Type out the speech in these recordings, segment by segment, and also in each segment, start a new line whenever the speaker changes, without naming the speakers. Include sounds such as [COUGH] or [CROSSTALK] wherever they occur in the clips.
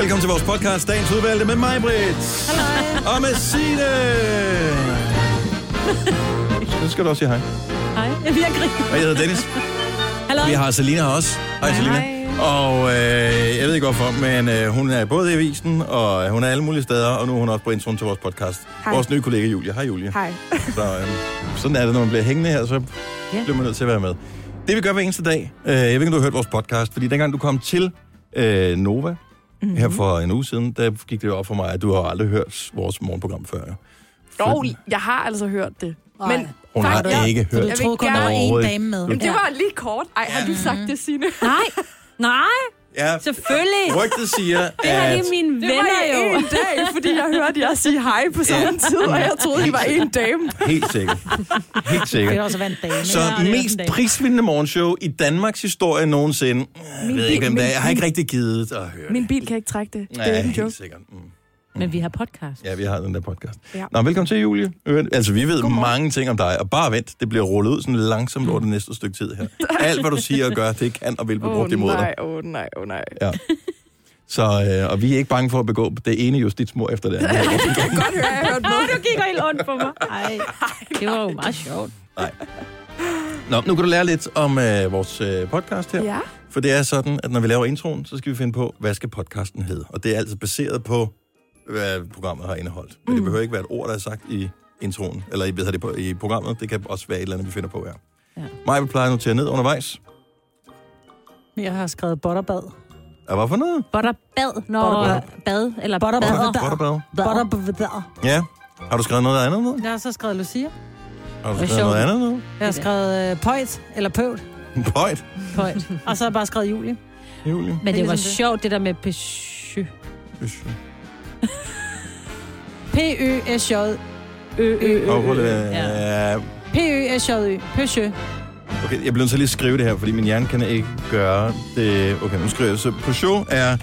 Velkommen til vores podcast, dagens udvalgte med mig, Britt. Og med Signe. Så skal du også sige hej.
Hej. Jeg griner.
Og jeg hedder Dennis.
Hallo.
Vi har Selina her også. Hej,
Hej,
Selina.
hej.
Og øh, jeg ved ikke hvorfor, men øh, hun er både i avisen, og hun er alle mulige steder, og nu er hun også på introen til vores podcast. Hej.
Hej.
Vores nye kollega Julie. Hej, Julie.
Hej.
Så, øh, sådan er det, når man bliver hængende her, så
Ja.
bliver man nødt til at være med. Det vi gør hver eneste dag, øh, jeg ved ikke, om du har hørt vores podcast, fordi dengang du kom til øh, Nova mm-hmm. her for en uge siden, der gik det jo op for mig, at du har aldrig hørt vores morgenprogram før. Jo,
Jo, jeg har altså hørt det.
Nej.
Men
Hun har
faktisk-
ikke hørt
Du
Jeg
troede
vil
kun, der var
gerne-
én dame med.
Jamen, det var lige kort. Ej, har du sagt det, Signe?
Nej. Nej,
Ja,
selvfølgelig.
rygtet siger,
Det her det
at...
er mine
Det var
venner
jeg
jo.
en dag, fordi jeg hørte jer sige hej på samme tid, og jeg troede, I var en dame.
Helt sikkert. Helt sikkert.
Det er også vandt dame.
Så
det
ikke?
er også
mest
en dag.
prisvindende morgenshow i Danmarks historie nogensinde. Jeg ved ikke, hvem
min-
det er. Jeg har ikke rigtig givet at høre
Min
det.
bil kan ikke trække det. Det er
Ja,
ikke en
helt
joke.
sikkert. Mm.
Men vi har podcast.
Ja, vi har den der podcast.
Ja.
Nå, velkommen til, Julie. Øvrigt, Altså, vi ved Godmorgen. mange ting om dig, og bare vent, det bliver rullet ud sådan langsomt over det næste stykke
[LAUGHS]
tid her. Alt, hvad du siger og gør, det kan og vil blive
Mm. Åh oh,
brugt imod
nej,
dig.
åh oh, nej, åh oh, nej.
Ja. Så, øh, og vi er ikke bange for at begå det ene justitsmord efter det andet.
Godt høre, jeg har hørt noget.
Du kigger helt ondt på mig. Ej, det var jo meget sjovt.
Nej. Nå, nu kan du lære lidt om øh, vores øh, podcast her.
Ja.
For det er sådan, at når vi laver introen, så skal vi finde på, hvad skal podcasten hedde? Og det er altså baseret på, hvad programmet har indeholdt. Men mm. det behøver ikke være et ord, der er sagt i introen, eller i, hvad hedder det, på, i programmet. Det kan også være et eller andet, vi finder på her. Ja.
Ja.
Mig vil pleje at notere ned undervejs.
Jeg har skrevet butterbad.
Er hvad for noget?
Butterbad, når
Butter-
bad eller
Butter-
bader.
Butter-
Butterbad.
Butterbad.
Ja. Har du skrevet noget andet ned?
Jeg har så skrevet Lucia.
Har du
Hvad
skrevet noget
sjovt.
andet ned?
Jeg har
Det der.
skrevet øh, pøjt, eller pøvt.
Pøjt,
Pøjt. Og så har jeg bare skrevet Julie.
Julie.
Men
Det
det
er
var
ligesom det.
sjovt, det der med Peugeot.
P-Ø-S-J. Ø-Ø.
Og prøv lige-
Ja.
Ja.
P-Ø-S-J-Ø. Peugeot.
Okay, jeg bliver nødt til at lige skrive det her, fordi min hjerne kan ikke gøre det. Okay, nu skriver jeg. Så Peugeot er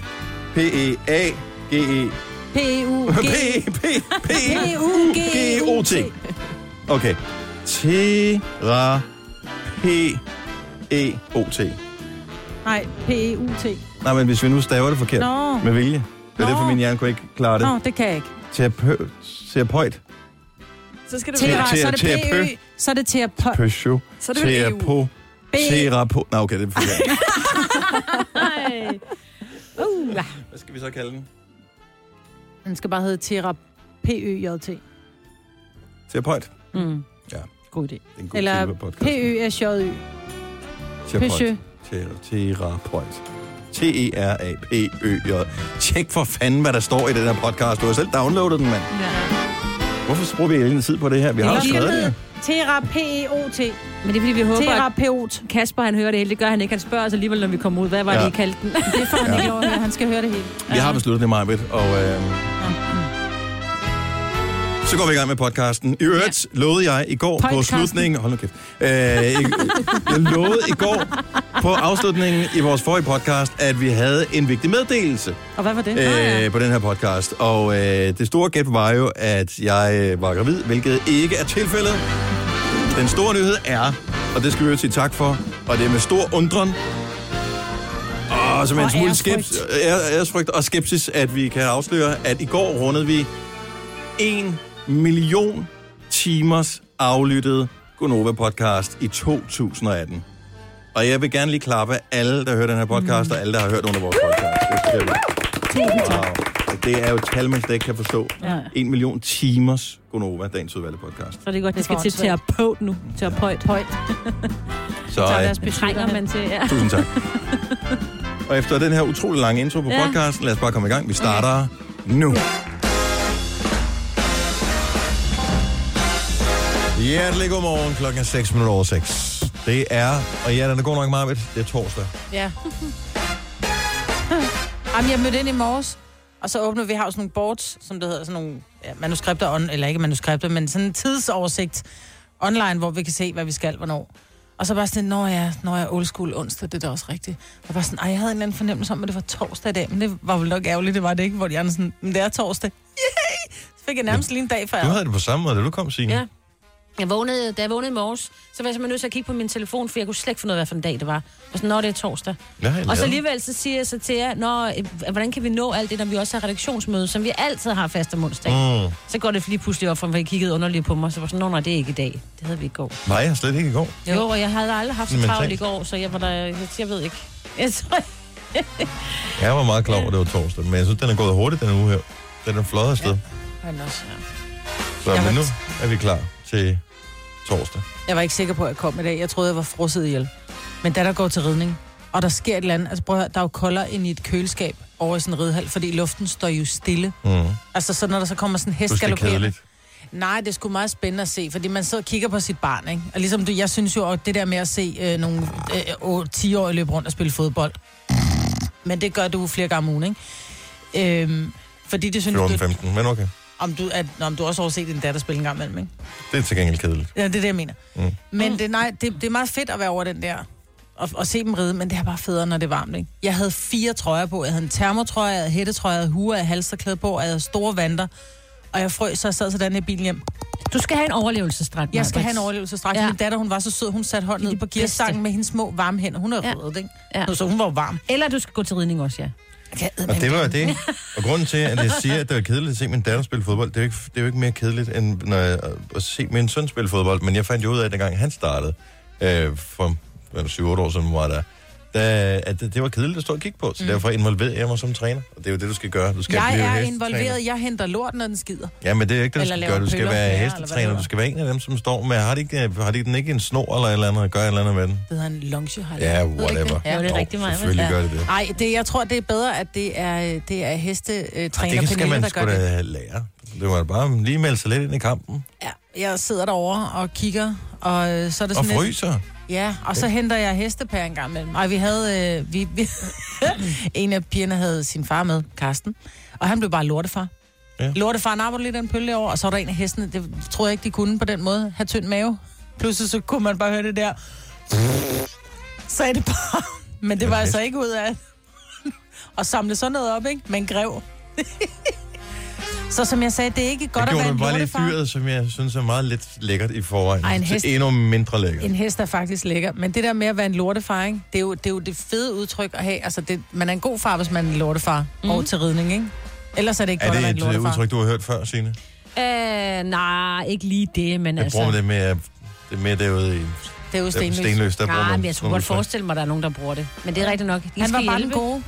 P-E-A-G-E [LAUGHS]
P-E-U-G.
P, P, P,
P-U-G.
G, O, T. Okay. Tera, P, E, O, T.
Nej, P-E-U-T.
Nej, men hvis vi nu staver det forkert.
Nå.
Med vilje. Det er
Nå.
derfor, min hjerne kunne ikke klare det.
Nå, det kan jeg ikke.
Terapeut. Terapeut.
Så skal det
Tera,
være.
Tera-
så er det
Tera-
P-Ø. Så er det Tera-
Peugeot.
Så er det vel E EU.
Terapo.
B.
Terapo. Nå, okay, det er forkert.
Nej. Uh, ja.
[LAUGHS] Hvad skal vi så kalde den?
Den skal bare hedde Tera P-Ø-J-T.
Terapeut.
mm.
Ja.
God idé.
Det er en god
Eller
titel på podcasten.
P-Ø-S-J-Ø.
Terapeut.
Peugeot.
Ter- Terapeut. T-E-R-A-P-Ø-J. Tjek for fanden, hvad der står i den her podcast. Du har selv downloadet den, mand.
Ja.
Hvorfor bruger vi hele tid på det her? Vi har jo
Eller
skrevet det.
skal hedde Tera P-E-O-T.
Men det er fordi, vi håber, at
Terapeut.
Kasper han hører det hele. Det gør han ikke. Han spørger os alligevel, når vi kommer ud. Hvad var
Ja.
ja. det, I kaldte den?
Det får han
Ja.
ikke lov at høre. Han skal høre det hele.
Vi har besluttet det, Majbet, og... Øh... Så går vi i gang med podcasten. I øvrigt lovede jeg i går på
Podcasten.
slutningen... Hold nu kæft. Øh, i- jeg lovede i går på afslutningen i vores forrige podcast, at vi havde en vigtig meddelelse
Og hvad var det? Ah,
øh, på den her podcast. Og øh, det store gæt var jo, at jeg øh, var gravid, hvilket ikke er tilfældet. Den store nyhed er, og det skal vi jo sige tak for, og det er med stor undren, og som en
Og
smule
ærefrygt.
skepsis, æresfrygt og skepsis, at vi kan afsløre, at i går rundede vi 1 million timers aflyttet Gonova-podcast i 2018. Og jeg vil gerne lige klappe alle, der hører den her podcast, mm. og alle, der har hørt under vores podcast. Det synes jeg er- Wow. Det er jo et tal, man slet ikke kan forstå.
Ja.
En million timers Gonova, dagens udvalgte podcast.
Så det er godt, det
Det
skal
var
til
åndssvagt.
terapeut nu. Terapeut.
Højt.
Så
Så
øh,
lad os
Trænger man til. Ja.
tusind tak. og efter den her utrolig lange intro på
Ja.
podcasten, lad os bare komme i gang. Vi starter nu. Hjertelig godmorgen. Klokken er 6 minutter over 6. Det er, og ja, den er god nok meget, det er torsdag.
Ja. [LAUGHS] Jamen, jeg mødte ind i morges, og så åbner vi, vi har jo sådan nogle boards, som det hedder, sådan nogle ja, manuskripter, on, eller ikke manuskripter, men sådan en tidsoversigt online, hvor vi kan se, hvad vi skal, hvornår. Og så bare sådan, når jeg, når jeg old school onsdag, det er da også rigtigt. Og bare sådan, ej, jeg havde en eller anden fornemmelse om, at det var torsdag i dag, men det var vel nok ærgerligt, det var det ikke, hvor de andre [LAUGHS] sådan, men det er torsdag. Yay! Så fik jeg nærmest lige en dag for
Du
jer.
havde det på samme måde, da du kom, Signe.
Ja.
Jeg vågnede, da jeg vågnede i morges, så var jeg simpelthen nødt til at kigge på min telefon, for jeg kunne slet ikke finde ud af, hvad for en dag det var. Og så, nå, det er torsdag.
Hvad har I
Og så
lavet?
alligevel så siger jeg så til jer, nå, øh, hvordan kan vi nå alt det, når vi også har redaktionsmøde, som vi altid har fast om onsdag.
Mm.
Så går det lige pludselig op, for mig, I kiggede underligt på mig, så var jeg sådan, nå, nej, det er ikke i dag. Det havde vi i går.
Nej, jeg har slet ikke i går.
Jo, og jeg havde aldrig haft så
Men
travlt
tænk.
i går, så jeg var der, jeg, jeg ved ikke. Jeg tror,
Jeg var meget klar over, at det var torsdag, men jeg synes, den er gået hurtigt den uge her. Den er flot afsted. Ja.
Men også, ja.
Så
Jeg
men
var-
nu er vi klar til torsdag.
Jeg var ikke sikker på, at jeg kom i dag. Jeg troede, jeg var frosset ihjel. Men da der går til ridning, og der sker et eller andet, altså prøv at høre, der er jo koldere end i et køleskab over i sådan en ridhal, fordi luften står jo stille.
Mm.
Altså, så når der så kommer sådan en
Du
hest
skal
galopperende.
kedeligt.
Nej, det er sgu meget spændende at se, fordi man sidder og kigger på sit barn, ikke? Og ligesom du, jeg synes jo, at det der med at se øh, nogle øh, 10-årige løbe rundt og spille fodbold, men det gør du flere gange om ugen, ikke? Øhm, fordi det synes du,
14-15, men okay.
om du, at, nå, om du også har set din datter spille en gang imellem, ikke?
Det er til gengæld kedeligt.
Ja, det er det, jeg mener.
Mm.
Mm. Men det, nej, det, det er meget fedt at være over den der, og, og se dem ride, men det er bare federe, når det er varmt, ikke? Jeg havde fire trøjer på. Jeg havde en termotrøje, jeg havde hættetrøje, jeg havde huer, jeg havde halsterklæde på, og jeg havde store vanter. Og jeg frøs, så jeg sad sådan i bilen hjem.
du skal have en overlevelsesstrat.
Jeg skal
Maj-Brit.
have en overlevelse straks.
Ja.
Ja. Min datter, hun var så sød, hun satte hånden
Det er
ned
de
på gearstangen
bedste.
med hendes små varme hænder. Hun er
Ja.
ja. rød, ikke?
Ja.
Ja. Så hun var jo varm.
Eller du skal gå til ridning også, ja.
Og det var jo det. Og grunden til, at jeg siger, at det var kedeligt at se min datter spille fodbold, det er jo ikke, det er jo ikke mere kedeligt, end når jeg, at se min søn spille fodbold. Men jeg fandt jo ud af, at dengang han startede, øh, for hvad er det, 7-8 år siden var der, da, at det, det var kedeligt at stå og kigge på. Så mm. derfor involverede jeg mig som træner. Og det er jo det, du skal gøre. Du skal
Jeg
blive
er
hestetræner.
involveret. Jeg henter lort, når den skider.
Ja, men det er ikke det, du
Eller
skal
laver
gøre. Du skal
pøller. Ja,
være
eller hvad det
hestetræner.
hedder.
Du skal være en af dem, som står med, har de, ikke, øh, har de den ikke en snor eller et eller andet, og gør et eller andet med den?
Det hedder en longehold.
Ja,
det ikke
whatever.
det? Ja, det er
Jo,
rigtig meget,
Selvfølgelig
ja.
gør det det.
Nej, det, jeg tror, det er bedre, at det er, det er
Ej,
hestetræner
det skal
Pernille,
man
der
sgu
gør det.
da lære. Det var bare lige melde sig lidt ind i kampen.
Ja, jeg sidder derovre og kigger, og øh, så er det
Og
sådan lidt...
fryser.
Ja, og så henter jeg hestepær en gang imellem. Og vi havde... Øh, vi, [LAUGHS] vi, en af pigerne havde sin far med, Karsten, og han blev bare lortefar.
Ja.
Ja. Lortefar napper lige den pølle over, og så var der en af hestene. Det troede jeg ikke, de kunne på den måde. Have tynd mave. Pludselig så kunne man bare høre det der... [LAUGHS] Sagde det bare. Men det var
Ja,
altså ikke ud af... [LAUGHS] at samle sådan noget op, ikke? Men grev. [LAUGHS] så som jeg sagde, det er ikke godt
det
at være
gjorde
en
mig bare lidt
lortefar.
dyret, som jeg synes er meget lidt lækkert i forvejen.
Ej, en
Til
hest.
Endnu mindre lækkert.
En hest er faktisk lækker, men det der med at være en lortefar, ikke? Det, er jo, det er jo det fede udtryk at have. Altså, det, man er en god far, hvis man er en lortefar mm. over til ridning, ikke? Ellers er det ikke
Er
godt at være en
det et øh,
lortefar.
udtryk, du har hørt før, Signe?
Øh, nej, ikke lige det, men
Jeg
altså...
bruger det med, det med derude i
Det er jo
der på
stenløs.
Stenløs. Der bruger
Nej,
man
men jeg
sådan
skulle godt
udtryk.
forestille mig, at der er nogen, der bruger det. Men det er rigtigt nok. De
Han
skal
var bare den
hjælpe.
gode.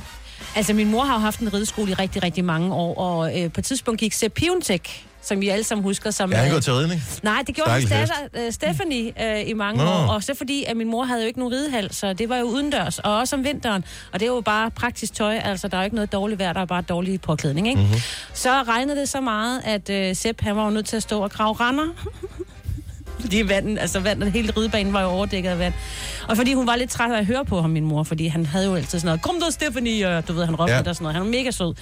Altså, min mor har jo haft en rideskole i rigtig, rigtig mange år, og øh, på et tidspunkt gik Sepp Piontek, som vi alle sammen husker som...
Ja, han
øh,
går til
[LAUGHS]
ridning.
Nej, det gjorde hans
Stakkels
datter, øh, Stephanie, øh, i mange
Nå.
Nå. år. Og så fordi, at min mor havde jo ikke nogen ridehal, så det var jo udendørs, og også om vinteren. Og det er jo bare praktisk tøj, altså der er jo ikke noget dårligt vejr, der er bare dårlig påklædning, ikke?
Mhm.
Mm-hmm. Så regnede det så meget, at øh, Sepp, han var jo nødt til at stå og grave render. [LAUGHS] Fordi vandet, altså vandet, hele ridebanen var jo overdækket af vand. Og fordi hun var lidt træt af at høre på ham, min mor, fordi han havde jo altid sådan noget, kom du, Stephanie, og du ved, han råbte
Ja.
ja. og sådan noget. Han var mega sød.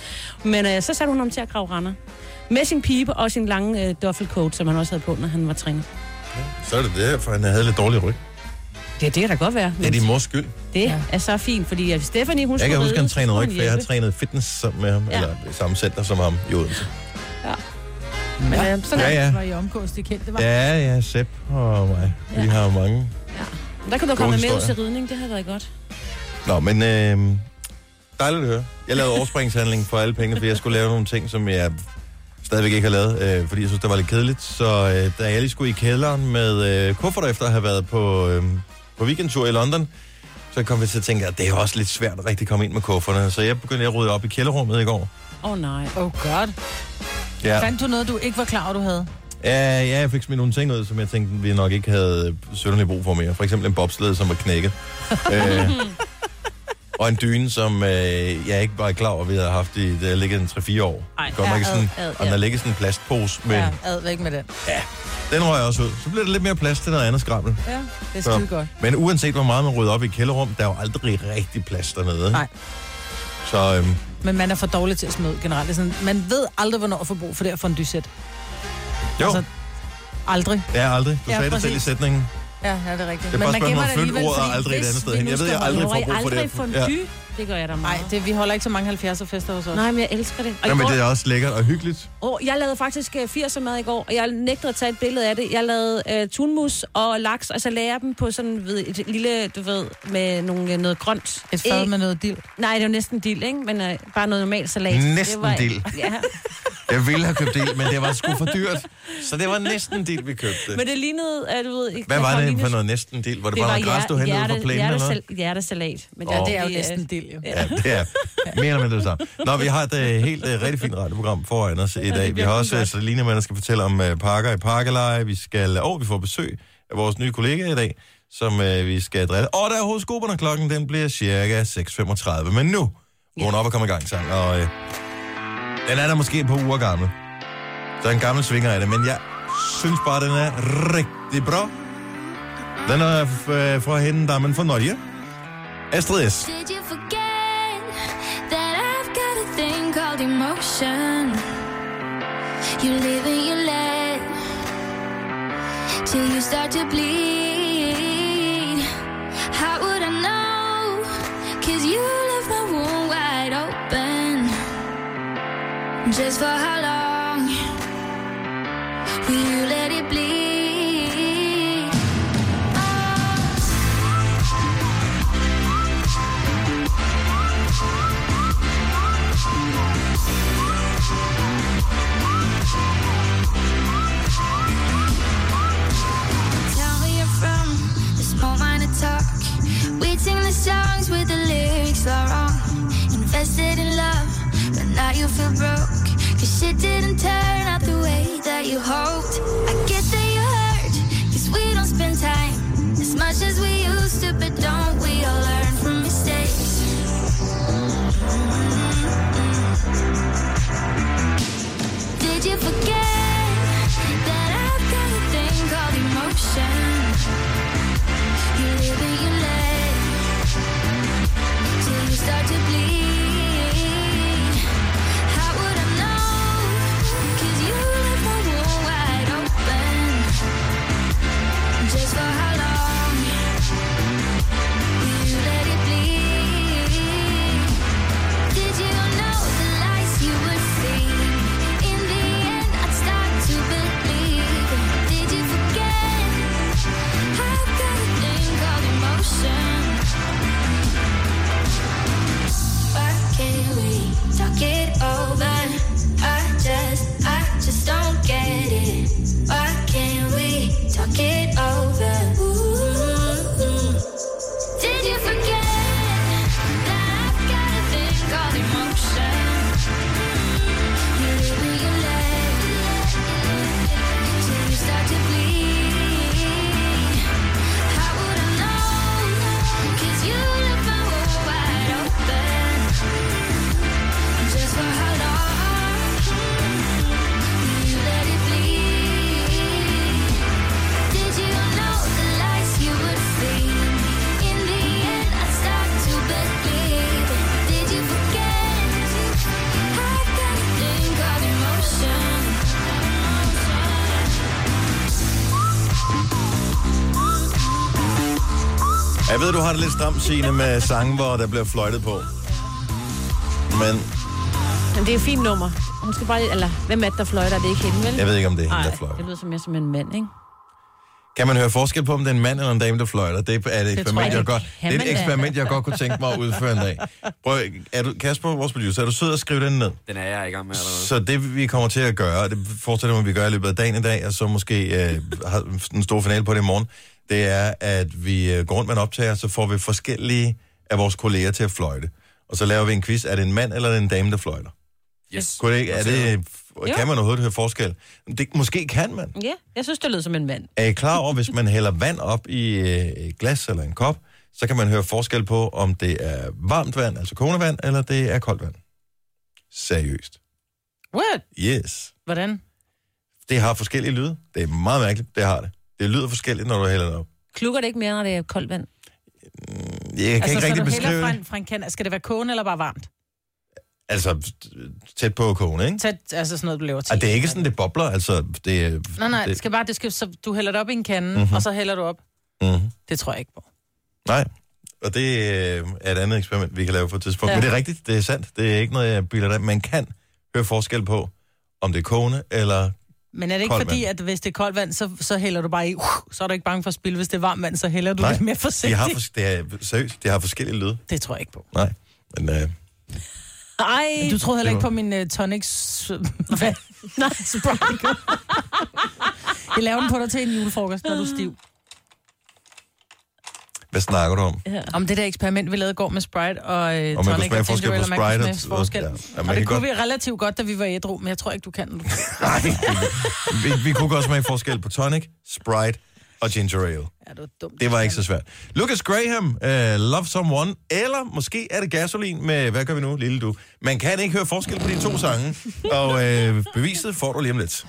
Men øh, så satte hun ham til at grave render. Med sin pibe og sin lange øh, duffelcoat, som han også havde på, når han var træner.
Så er det derfor, han havde lidt dårlig ryg.
Ja, det kan da godt være.
Det er
Men
din mors skyld.
det
Ja.
er så fint, fordi at Stephanie, hun
Jeg kan
skulle
huske, han
ride, så
trænede
skulle
ryg, for jeg har
hjælpe.
trænet fitness sammen med ham,
Ja.
eller i samme center som ham i Odense.
Men, ja, sådan
Ja,
ja,
ja.
ja. var I omgås, det kendte, var. Ja.
Ja, ja, Sepp og mig. Vi
Ja.
har mange.
Der kunne du komme med ud
historier.
til ridning, det havde været godt.
Nå, men øh, dejligt at høre. Jeg lavede overspringshandling for alle pengene, fordi jeg skulle lave nogle ting, som jeg stadigvæk ikke har lavet, øh, fordi jeg synes, det var lidt kedeligt. Så øh, da jeg lige skulle i kælderen med øh, kufferter efter at have været på, øh, på weekendtur i London, så kom jeg til at tænke, at det er også lidt svært at rigtig komme ind med kufferterne. Så jeg begyndte at rydde op i kælderrummet i går.
Åh oh, nej.
Oh god.
Ja.
Fandt du noget, du ikke var klar over, du havde?
Ja, ja, jeg fik smidt nogle ting ud, som jeg tænkte, vi nok ikke havde sønderlig brug for mere. For eksempel en bobsled, som var knækket. øh,
Hm.
og en dyne, som øh, jeg ikke var klar over, vi havde haft i, det har ligget en 3-4 år.
Ej,
Godt nok
ja,
i sådan,
ad, ad,
og den
ja.
har ligget i sådan en plastpose, men ja.
Ja, ad, væk med den.
den røg også ud. Så bliver der lidt mere plads til noget andet skrammel.
Ja, det er
Så.
skide godt.
Men uanset hvor meget man rydder op i et kælderrum, der er jo aldrig rigtig plads dernede.
Nej.
Så øhm,
Men man er for dårlig til at smide generelt. Det er sådan, man ved aldrig, hvornår at få brug for det her fondysæt.
jo,
Altså,
altså,
Aldrig.
det er aldrig. Du
Ja,
sagde det selv i
præcis.
sætningen.
Ja, ja, det er rigtigt.
Det er bare
man
et spørgsmål
gemmer
om
det
at flytte
alligevel,
ordet
fordi
aldrig et
hvis
andet sted
vi
hen.
nu
Jeg ved,
skal
jeg
holde-
aldrig
Laver
får
I
brug for det.
aldrig fondue? Ja. Det gør jeg da meget.
Nej, det, vi holder ikke så mange 70'er fester hos os.
Nej, men jeg elsker det. Og
Ja,
i
men
går,
det er også lækkert og hyggeligt.
åh, jeg lavede faktisk øh, 80'er mad i går, og jeg nægtede at tage et billede af det. Jeg lavede øh, tunmus og laks, og så lagde jeg dem på sådan ved, et lille, du ved, med nogle, øh, noget grønt.
Et fad
Æg.
med noget dild.
Nej, det var næsten dild, ikke? Men øh, bare noget normal salat.
Næsten
det var,
dild. [LAUGHS]
Ja,
Jeg ville have købt det, men det var sgu for dyrt. Så det var næsten del, vi købte.
men det lignede, øh, du ved...
Hvad var det for
noget?
noget næsten del? Var det, bare noget græs, du hentede ud fra plænen eller noget?
Hjertesalat. Men
Åh.
oh.
Det er jo næsten dild, jo.
Ja, det er mere eller mindre det samme. Nå, vi har et øh, helt øh, rigtig fint radioprogram foran os i dag. Vi har også øh, Selina med, der skal fortælle om øh, parker i parkeleje. Vi skal, og vi får besøg af vores nye kollega i dag, som øh, vi skal drille. Og der er horoskoperne, klokken den bliver cirka 6.35. Men nu, vågn op og kom i gang sang. Og øh, den er der måske på uger gammel. Så en gammel svinger af det, men jeg synes bare, den er rigtig bra. Den er øh, fra hende, der er man fra Norge. Astrid S.
Did you forget that I've got a thing called emotion? You live and you let till you start to bleed. How would I know? Cause you left my wound wide open. Just for how long will you let it bleed? Tell me you're from the small minor talk. We sing the songs with the lyrics all wrong. Invested in love, but now you feel broke. Cause shit didn't turn out the way that you hoped. I get that you hurt, cause we don't spend time as much as we used to, but don't we all learn from mistakes? Did you forget that I've got a thing called emotion? You live and you let till you start to bleed. How would I know? 'Cause you left my wound wide open. Just for how long will you let it bleed? Did you know the lies you would see? In the end, I'd start to believe. Did you forget how good a thing called emotion? Why can't we talk it over? I just, I just don't get it. Why can't we talk it over? Ooh. Did you forget that I've got a thing called emotion? You live and you let till you start to bleed. How would I know? 'Cause you left my world wide open. Just for how long will you let it bleed? Did you know the lies you would see? In the end, I start to believe. Did you forget? I've got a thing called emotion.
Jeg ved, du har det lidt stramt, Signe, med sange, hvor der bliver fløjtet på. Men
Jamen, det er et fint nummer. Hun skal bare... Eller, hvem er det, der fløjter? Det er ikke hende, vel?
jeg ved ikke, om det er hende, der
Nej,
fløjter.
det lyder som mere som en mand, ikke?
Kan man høre forskel på, om det er en mand eller en dame, der fløjter? Det er et eksperiment, jeg
det
godt,
kan
det er et
man da.
eksperiment, jeg godt kunne tænke mig at udføre en dag. Prøv, er du, Kasper, vores producer, er du sød at skrive den ned?
Den er jeg i gang med allerede.
Så det, vi kommer til at gøre, og det fortsætter vi med, at vi gør i løbet af dagen i dag, og så måske øh, har den store finale på det i morgen, det er, at vi øh, går rundt med en optager, så får vi forskellige af vores kolleger til at fløjte. Og så laver vi en quiz. Er det en mand eller er det en dame, der fløjter?
Yes.
Kunne det ikke? Er det, kan
Jo.
man overhovedet høre forskel? Det, måske kan man.
Ja, jeg synes, det lyder som en mand.
Er I klar over, hvis man hælder vand op i øh, et glas eller en kop, så kan man høre forskel på, om det er varmt vand, altså kogende vand, eller det er koldt vand? Seriøst.
What?
Yes.
Hvordan?
Det har forskellige lyde. Det er meget mærkeligt, det har det. Det lyder forskelligt, når du hælder det op. Mm,
Klukker det ikke mere, når det er koldt vand?
Jeg kan altså, ikke
så
rigtig
du hælder
beskrive
fra
det.
en, fra en kan, skal det være kogende eller bare varmt?
Altså, tæt på kogende, ikke?
Tæt, altså sådan noget, du laver til.
Og det er ikke sådan, det bobler, altså. Det, er-
Nej, nej, det
det, Mhm.
skal bare, det skal, så du hælder det op i en kande, mm-hmm. og så hælder du op.
Mm-hmm.
Det tror jeg ikke på.
Nej, og det øh, er et andet eksperiment, vi kan lave på et tidspunkt. Ja.
Ja.
Men det er rigtigt, det er sandt. Det er ikke noget, jeg bilder dig. ind. Man kan høre forskel på, om det er kogende eller...
Men er det ikke
Koldt
Kold fordi, at hvis det er koldt vand, så, så hælder du bare i, uh, så er du ikke bange for at spille. Hvis det er varmt vand, så hælder du
Nej,
lidt mere
De
forsigtigt.
har,
Har
for, det er, seriøst, det har forskellige lyde.
Det tror jeg ikke på.
Nej, men øh,
Ej,
Du troede heller
Det
ikke
var-
på min uh, tonic... s- Hvad? [LAUGHS] Nej, Sprite. Jeg laver den på dig til en julefrokost, når du er stiv.
hvad snakker du om?
Om det der eksperiment, vi lavede i går med Sprite og øh,
Og man kunne
tonic
smage
og
forskel
ginger
på
ale, og man kunne
Sprite
smage forskel.
Ja,
Ja.
ja, man
Og
kan
det kunne
godt,
vi relativt godt, da vi var ædru, men jeg tror ikke, du kan. Du.
[LAUGHS] nej, vi, vi kunne godt smage forskel på tonic, Sprite og ginger ale.
Ja, du er dumt.
Det var ikke så svært. Lucas Graham, uh, Love Someone, eller måske er det Gasolin med, hvad gør vi nu, lille du? Man kan ikke høre forskel på de to sange, og uh, beviset får du lige om lidt.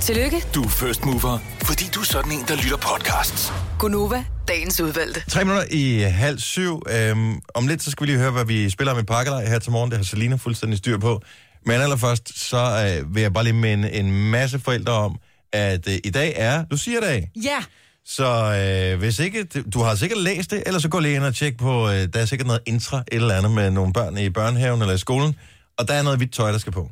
Tillykke,
Du er first mover, fordi du er sådan en, der lytter podcasts.
Gunova, dagens udvalgte.
Tre minutter i halv syv. Um, om lidt, så skal vi lige høre, hvad vi spiller med pakkelej her til morgen. Det har Selina fuldstændig styr på. Men allerførst, så uh, vil jeg bare lige minde en masse forældre om, at uh, i dag er Lucia-dag.
Ja,
Så øh, hvis ikke, du har sikkert læst det, eller så gå lige ind og tjek på, øh, der er sikkert noget intra et eller andet med nogle børn i børnehaven eller i skolen, og der er noget hvidt tøj, der skal på.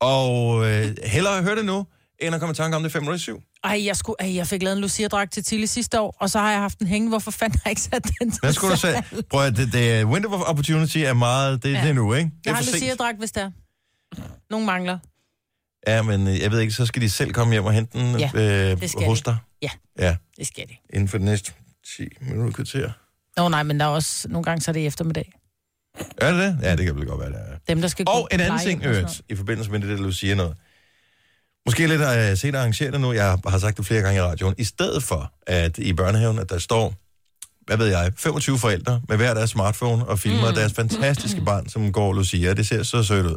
Og øh, hellere høre det nu, end at komme i tanke om det 5 minutter i syv.
Ej, jeg, skulle, ej, jeg fik lavet en Lucia-dragt til Tilly sidste år, og så har jeg haft den hænge. Hvorfor fanden har [LAUGHS] jeg ikke sat den til
Hvad skulle du sige? Prøv at det, det, window of opportunity er meget, det, ja. det er nu, ikke? Det
Jeg
er
har
for sent.
Lucia-dragt, hvis der. Nogle mangler.
Ja, men øh, jeg ved ikke, så skal de selv komme hjem og hente den
Ja,
øh,
det skal
hos
de.
dig.
Ja.
Ja,
Det skal det.
inden for de næste 10 minutter kvarter.
Nå nej, men der er også nogle gange, så er det i eftermiddag.
Er det det? Ja, det kan vel godt være, det er.
Dem, der skal
Og en anden ting, øvrigt, i forbindelse med det, der du siger noget. Måske lidt uh, set arrangere det nu. Jeg har sagt det flere gange i radioen. I stedet for, at i børnehaven, at der står, hvad ved jeg, 25 forældre med hver deres smartphone og filmer mm. deres fantastiske barn, som går Lucia. Det ser så sødt ud.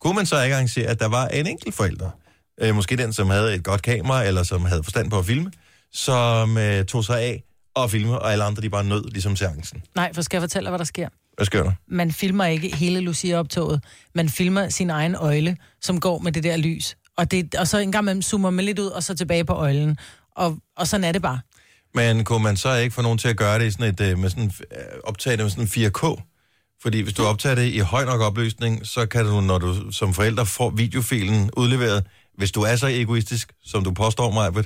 Kunne man så ikke arrangere, at der var en enkelt forælder, øh, måske den, som havde et godt kamera, eller som havde forstand på at filme, som øh, tog sig af og filme, og alle andre, de bare nød, ligesom seancen.
Nej, for skal jeg fortælle dig, hvad der sker?
Hvad sker der?
Man filmer ikke hele Lucia-optoget. Man filmer sin egen øjle, som går med det der lys. Og, det, og så en gang imellem zoomer man lidt ud, og så tilbage på øjlen. Og, og sådan er det bare.
Men kunne man så ikke få nogen til at gøre det i sådan et, øh, med sådan, øh, optage det med sådan 4K? Fordi hvis du optager det i høj nok opløsning, så kan du, når du som forælder får videofilen udleveret, hvis du er så egoistisk, som du påstår mig,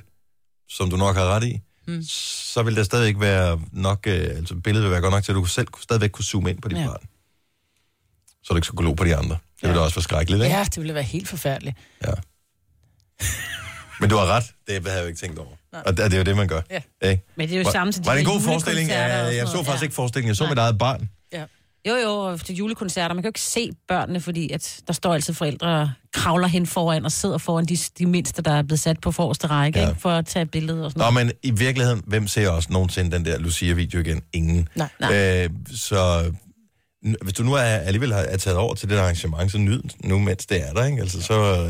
som du nok har ret i, mm. så vil der stadig ikke være nok, øh, altså billedet vil være godt nok til, at du selv kunne- stadigvæk kunne zoome ind på dit ja.
Ja.
barn. Så du ikke skulle kunne lo på de andre. Det ville da også være skrækkeligt, ikke?
Ja, det ville være helt forfærdeligt.
Ja. Men du har ret, det havde jeg jo ikke tænkt over. Og det, det er jo det, man gør.
Ja.
Ikke?
Men det er jo
Var-
samme til de
Var det en
der
god forestilling?
julekoncerter og
Jeg,
sådan
jeg så
noget.
faktisk
Ja.
ikke forestillingen. Jeg så mit eget barn.
Jo, jo, og til julekoncerter. Man kan jo ikke se børnene, fordi at der står altid forældre og kravler hen foran og sidder foran de, de mindste, der er blevet sat på forreste række,
Ja.
ja. ikke? for at tage et billede og sådan
Nå,
noget.
men i virkeligheden, hvem ser også nogensinde den der Lucia-video igen? Ingen.
Nej.
Nej. Øh, så n- hvis du nu er, alligevel har, er taget over til det der arrangement, så nyd den nu, mens det er der, ikke? Altså, så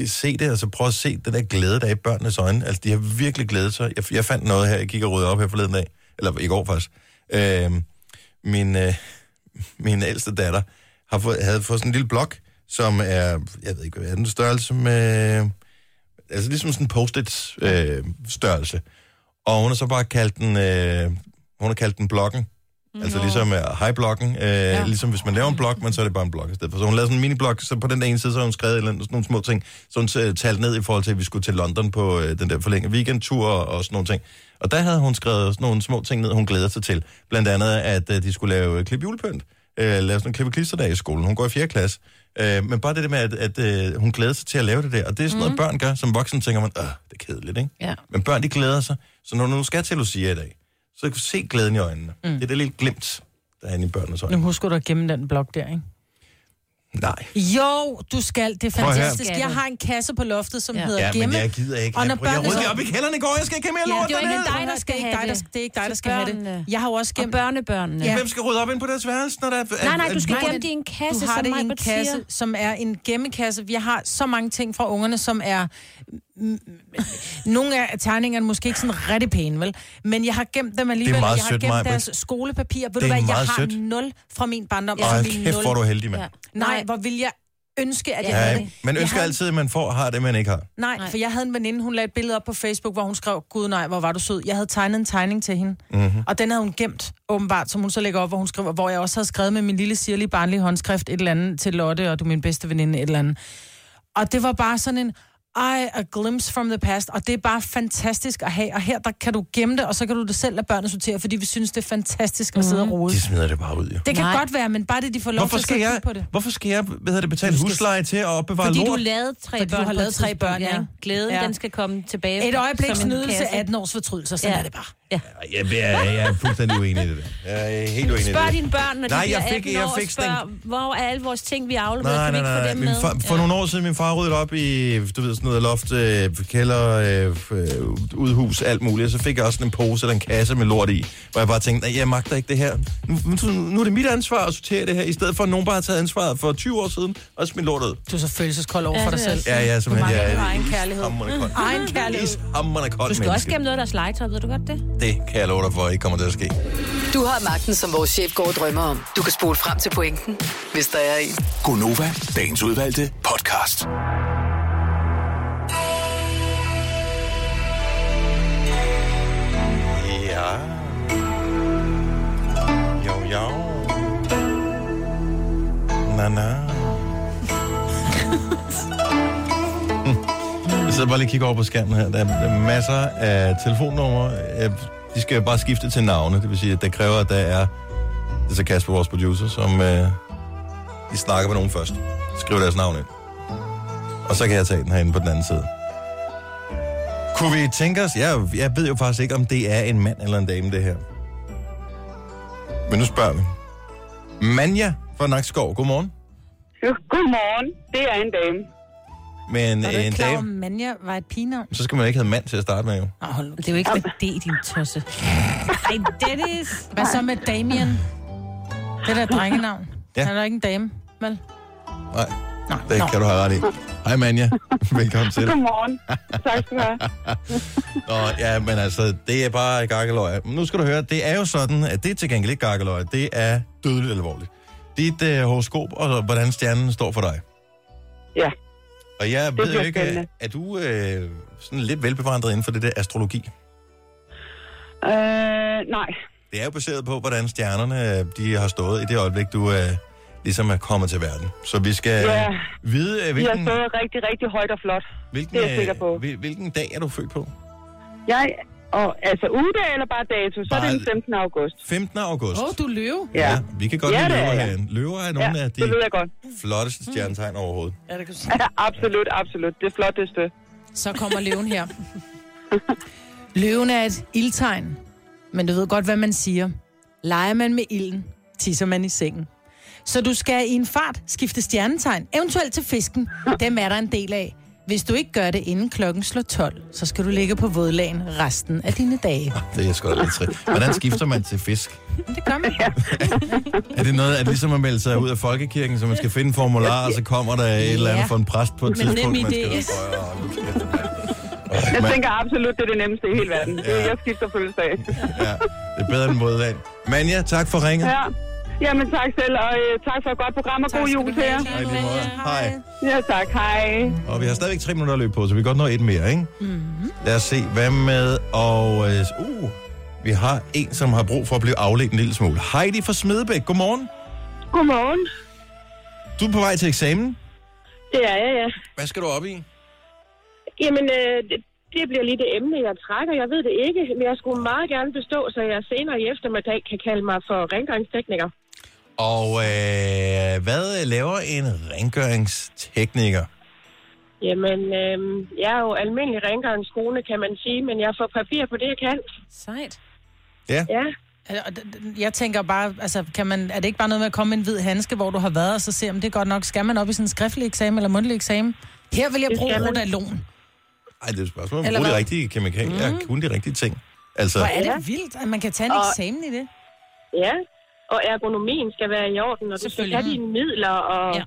øh, se det, og så prøv at se den der glæde, der er i børnenes øjne. Altså, de har virkelig glædet sig. Jeg, jeg fandt noget her, jeg gik og rydde op her forleden dag, eller i går faktisk. Øh, min, øh, [LAUGHS] min ældste datter har fået, havde fået sådan en lille blok, som er, jeg ved ikke, hvad er den størrelse med... Altså ligesom sådan en post-it øh, størrelse. Og hun har så bare kaldt den, øh, hun har kaldt den blokken. Altså ligesom uh, high-blokken. Øh, ja. Ligesom hvis man laver en blok, men så er det bare en blok i stedet for. Så hun lavede sådan en mini-blok, så på den der ene side, så har hun skrevet et eller andet, sådan nogle små ting, så hun øh, talte ned i forhold til, at vi skulle til London på øh, den der forlængede weekendtur og, og sådan nogle ting. Og der havde hun skrevet sådan nogle små ting ned, hun glæder sig til. Blandt andet, at øh, de skulle lave øh, klip julepynt. Øh, lave sådan en klippe klisterdag i skolen. Hun går i 4. klasse. Øh, men bare det der med, at, at øh, hun glæder sig til at lave det der. Og det er sådan noget, børn gør. Som voksen tænker man, åh, det er kedeligt, ikke?
Ja.
Men børn, de glæder sig. Så når du nu skal til Lucia i dag, så kan du se glæden i øjnene. Mm. Det er det lille glimt, der er inde i børnenes øjne.
Nu husker du at gemme den blok der, ikke?
Nej.
Jo, du skal. Det er
Prøv at høre.
fantastisk. Jeg har en kasse på loftet, som
Ja.
ja. hedder
Ja,
gemme.
men jeg gider ikke.
Og
Og
når
jeg, prøver, jeg
børnene
rydder
så-
op i kælderen i går, jeg skal ikke have mere
Ja,
lort
det var ikke
dernede.
dig, der
det er
skal
ikke
have
dig, der,
det.
det er ikke dig, der
Til
skal have det.
børnene.
Jeg har jo også
Og
gemt...
børnebørnene.
Ja.
Ja.
Hvem skal rydde op ind på deres værelse, når der er...
Nej, nej, du skal
Nej,
gemme
men
det i en kasse,
Du har
som
det i en
Majbert siger.
kasse, som er en gemmekasse. Jeg har så mange ting fra ungerne, som er... m- m- Nogle af tegningerne er måske ikke sådan rigtig pæne, vel? Men jeg har gemt dem alligevel.
Det er meget
og jeg har
sødt,
gemt
Maj-Brit.
deres skolepapir. Ved
er
du hvad, jeg
meget
har
sødt.
nul fra min barndom.
Ej,
som i
kæft, hvor er du heldig, mand.
Ja.
Ja.
Nej, hvor vil jeg ønske, at jeg havde
Ja,
det.
man
Jeg
ønsker
havde-
altid, at man får har det, man ikke har.
Nej, for jeg havde en veninde, hun lagde et billede op på Facebook, hvor hun skrev, gud nej, hvor var du sød. Jeg havde tegnet en tegning til hende,
Mhm.
mm-hmm. og den havde hun gemt, åbenbart, som hun så lægger op, hvor hun skriver, hvor jeg også havde skrevet med min lille sirlige barnlige håndskrift et eller andet til Lotte, og du er min bedste veninde, et eller andet. Og det var bare sådan en, ej, a glimpse from the past, og det er bare fantastisk at have, og her der kan du gemme det, og så kan du det selv lade børnene sortere, fordi vi synes, det er fantastisk at sidde og rode.
De smider det bare ud, jo.
Det kan
Nej.
godt være, men bare det, de får lov
Hvorfor
til at
skal
sidde og
jeg,
kigge på det.
hvorfor skal jeg hvad hedder det, betale husleje til at opbevare
Fordi du
lort?
lavede tre
Fordi du
børn.
har
på
lavet
et
tre
tidspunkt,
børn, ja.
Glæden,
Ja.
den skal komme tilbage.
Et øjeblik
som en
snydelse,
kasse.
18 års fortrydelse, sådan
Ja.
ja. er det bare.
Jeg, jeg, jeg er fuldstændig uenig i det der. Jeg er helt uenig i det.
Spørg dine børn, når
Nej,
de bliver
jeg fik-
18
jeg
år,
fik
og
sådan en-
spørg, hvor er alle vores ting, vi afleverede,
Nej,
kan vi
nej,
ikke
nej.
få dem
Min
med?
far, for ja. nogle år siden, min far ryddede op i, du ved, sådan noget loft, øh, kælder, øh, f- øh, udhus, alt muligt. Og så fik jeg også sådan en pose eller en kasse med lort i, hvor jeg bare tænkte, nej, jeg magter ikke det her. Nu, nu, nu er det mit ansvar at sortere det her, i stedet for at nogen bare har taget ansvaret for 20 år siden og smidt lort ud.
Du er så følelseskold over for dig selv.
Ja, ja, simpelthen. Jeg
mangler
er
egen kærlighed.
ishamrende kold.
Egen kærlighed.
Ishamrende kold
Du skal også
menneske.
gemme noget af deres legetøj, ved du godt det?
Det kan jeg love dig for, ikke kommer til at ske.
Du har magten, som vores chef går og drømmer om. Du kan spole frem til pointen, hvis der er en.
Gonova, dagens udvalgte podcast.
Ja. Jo, jo. Na, na. Jeg sidder bare lige og kigger over på skærmen her. Der er- der er masser af telefonnumre. Øh, De skal jo bare skifte til navne. Det vil sige, at det kræver, at der er... Det er så Kasper, vores producer, som... Øh, de snakker med nogen først. Skriver deres navn ind. Og så kan jeg tage den herinde på den anden side. Kunne vi tænke os... Jeg, jeg ved jo faktisk ikke, om det er en mand eller en dame, det her. Men nu spørger vi. Manja fra Nakskov, godmorgen.
Jo, Godmorgen. Det er en dame.
Men
Er du
en
ikke klar, om
dame,
Manja var et pigenavn?
så skal man ikke have mand til at starte med, jo.
Nå, hold nu.
Det er jo ikke med det, din tosse. Ej, Dennis.
Hvad så med Damien? Det der drengenavn.
Ja.
Ja. Han er da ikke en dame, vel?
Nej,
Nå,
det
nå.
kan du have ret i. Hej Manja,
[LAUGHS]
velkommen til.
Godmorgen. Tak skal du have.
[LAUGHS] Nå, ja, men altså, det er bare gakkeløg. Men nu skal du høre, det er jo sådan, at det er til gengæld ikke gakkeløg. Det er dødeligt alvorligt. Dit øh, horoskop og hvordan stjernen står for dig.
Ja.
Og jeg
Det
ved jo
bliver
ikke,
spændende.
er du øh, sådan lidt velbevandret inden for det der astrologi?
Øh, nej.
Det er jo baseret på, hvordan stjernerne øh, de har stået i det øjeblik, du øh, ligesom er kommet til verden. Så vi skal
Ja.
øh, vide, øh,
Vi har
hvilken,
stået rigtig, rigtig højt og flot.
hvilken,
det er jeg sikker
øh,
på.
hvil- hvilken dag er du født på?
Jeg, og, altså ugedag eller bare dato, så er det den
Bare-
15. august.
15. august.
Åh, oh, du løve.
Ja.
Vi kan godt
Ja,
lide
det er
løver
jeg.
herinde. Løver er
Ja,
nogle af
det ved
de
jeg Mm. godt. [LAUGHS]
flotteste stjernetegn overhovedet.
Ja, det kan du sige.
Ja, absolut, absolut. Det flotteste.
Så kommer løven her. Løven er et ildtegn, men du ved godt, hvad man siger. Leger man med ilden, tisser man i sengen. Så du skal i en fart skifte stjernetegn, eventuelt til fisken. Dem er der en del af. Hvis du ikke gør det inden klokken slår 12, så skal du ligge på vådlagen resten af dine dage.
Det er sgu da lidt trist. Hvordan skifter man til fisk?
Det gør man.
Er det noget, at ligesom at melde sig ud af folkekirken, så man skal finde en formular, og så kommer der et eller andet
Ja.
for en præst på et
nem
tidspunkt, man skal...
idé.
Åh, hold nu kæft,
Jeg
mand. Åh,
tænker absolut, det er det nemmeste i hele verden. Det er,
Ja.
jeg skifter fødselsdag.
mand, Ja, det er bedre end modland. Manja, tak for ringet.
Ja. Jamen tak selv, og øh, tak for et godt program, og god jul til jer.
Hej, lige måde. Hej.
Ja, tak. Hej.
Og vi har stadigvæk tre minutter at løbe på, så vi kan godt nå et mere, ikke? Mm-hmm. Lad os se, hvad med... Og øh, uh, vi har en, som har brug for at blive afledt en lille smule. Heidi fra Smedebæk, godmorgen.
Godmorgen.
Du er på vej til eksamen.
Det er jeg, ja.
Hvad skal du op i?
Jamen, øh, det- det bliver lige det emne, jeg trækker. Jeg ved det ikke, men jeg skulle meget gerne bestå, så jeg senere i eftermiddag kan kalde mig for rengøringstekniker.
Og øh, hvad laver en rengøringstekniker?
Jamen, øh, jeg er jo almindelig rengøringskone, kan man sige, men jeg får papir på det, jeg kan.
Sejt.
Ja,
Jeg tænker bare, altså, kan man, er det ikke bare noget med at komme med en hvid handske, hvor du har været, og så se, om det er godt nok? Skal man op i sådan en skriftlig eksamen eller mundtlig eksamen? Her vil jeg
Det
bruge
skal man.
rodalon.
Ej, det er et spørgsmål. om at
Eller
bruge de
hvad?
rigtige kemikalier. Mm.
Mhm.
Ja, kun de rigtige ting. Altså,
Hvor er det vildt, at man kan tage en
Og-
eksamen i det.
ja. Og ergonomien skal være i orden, og du skal
Selvfølgelig.
have dine midler, og
Ja.
ja.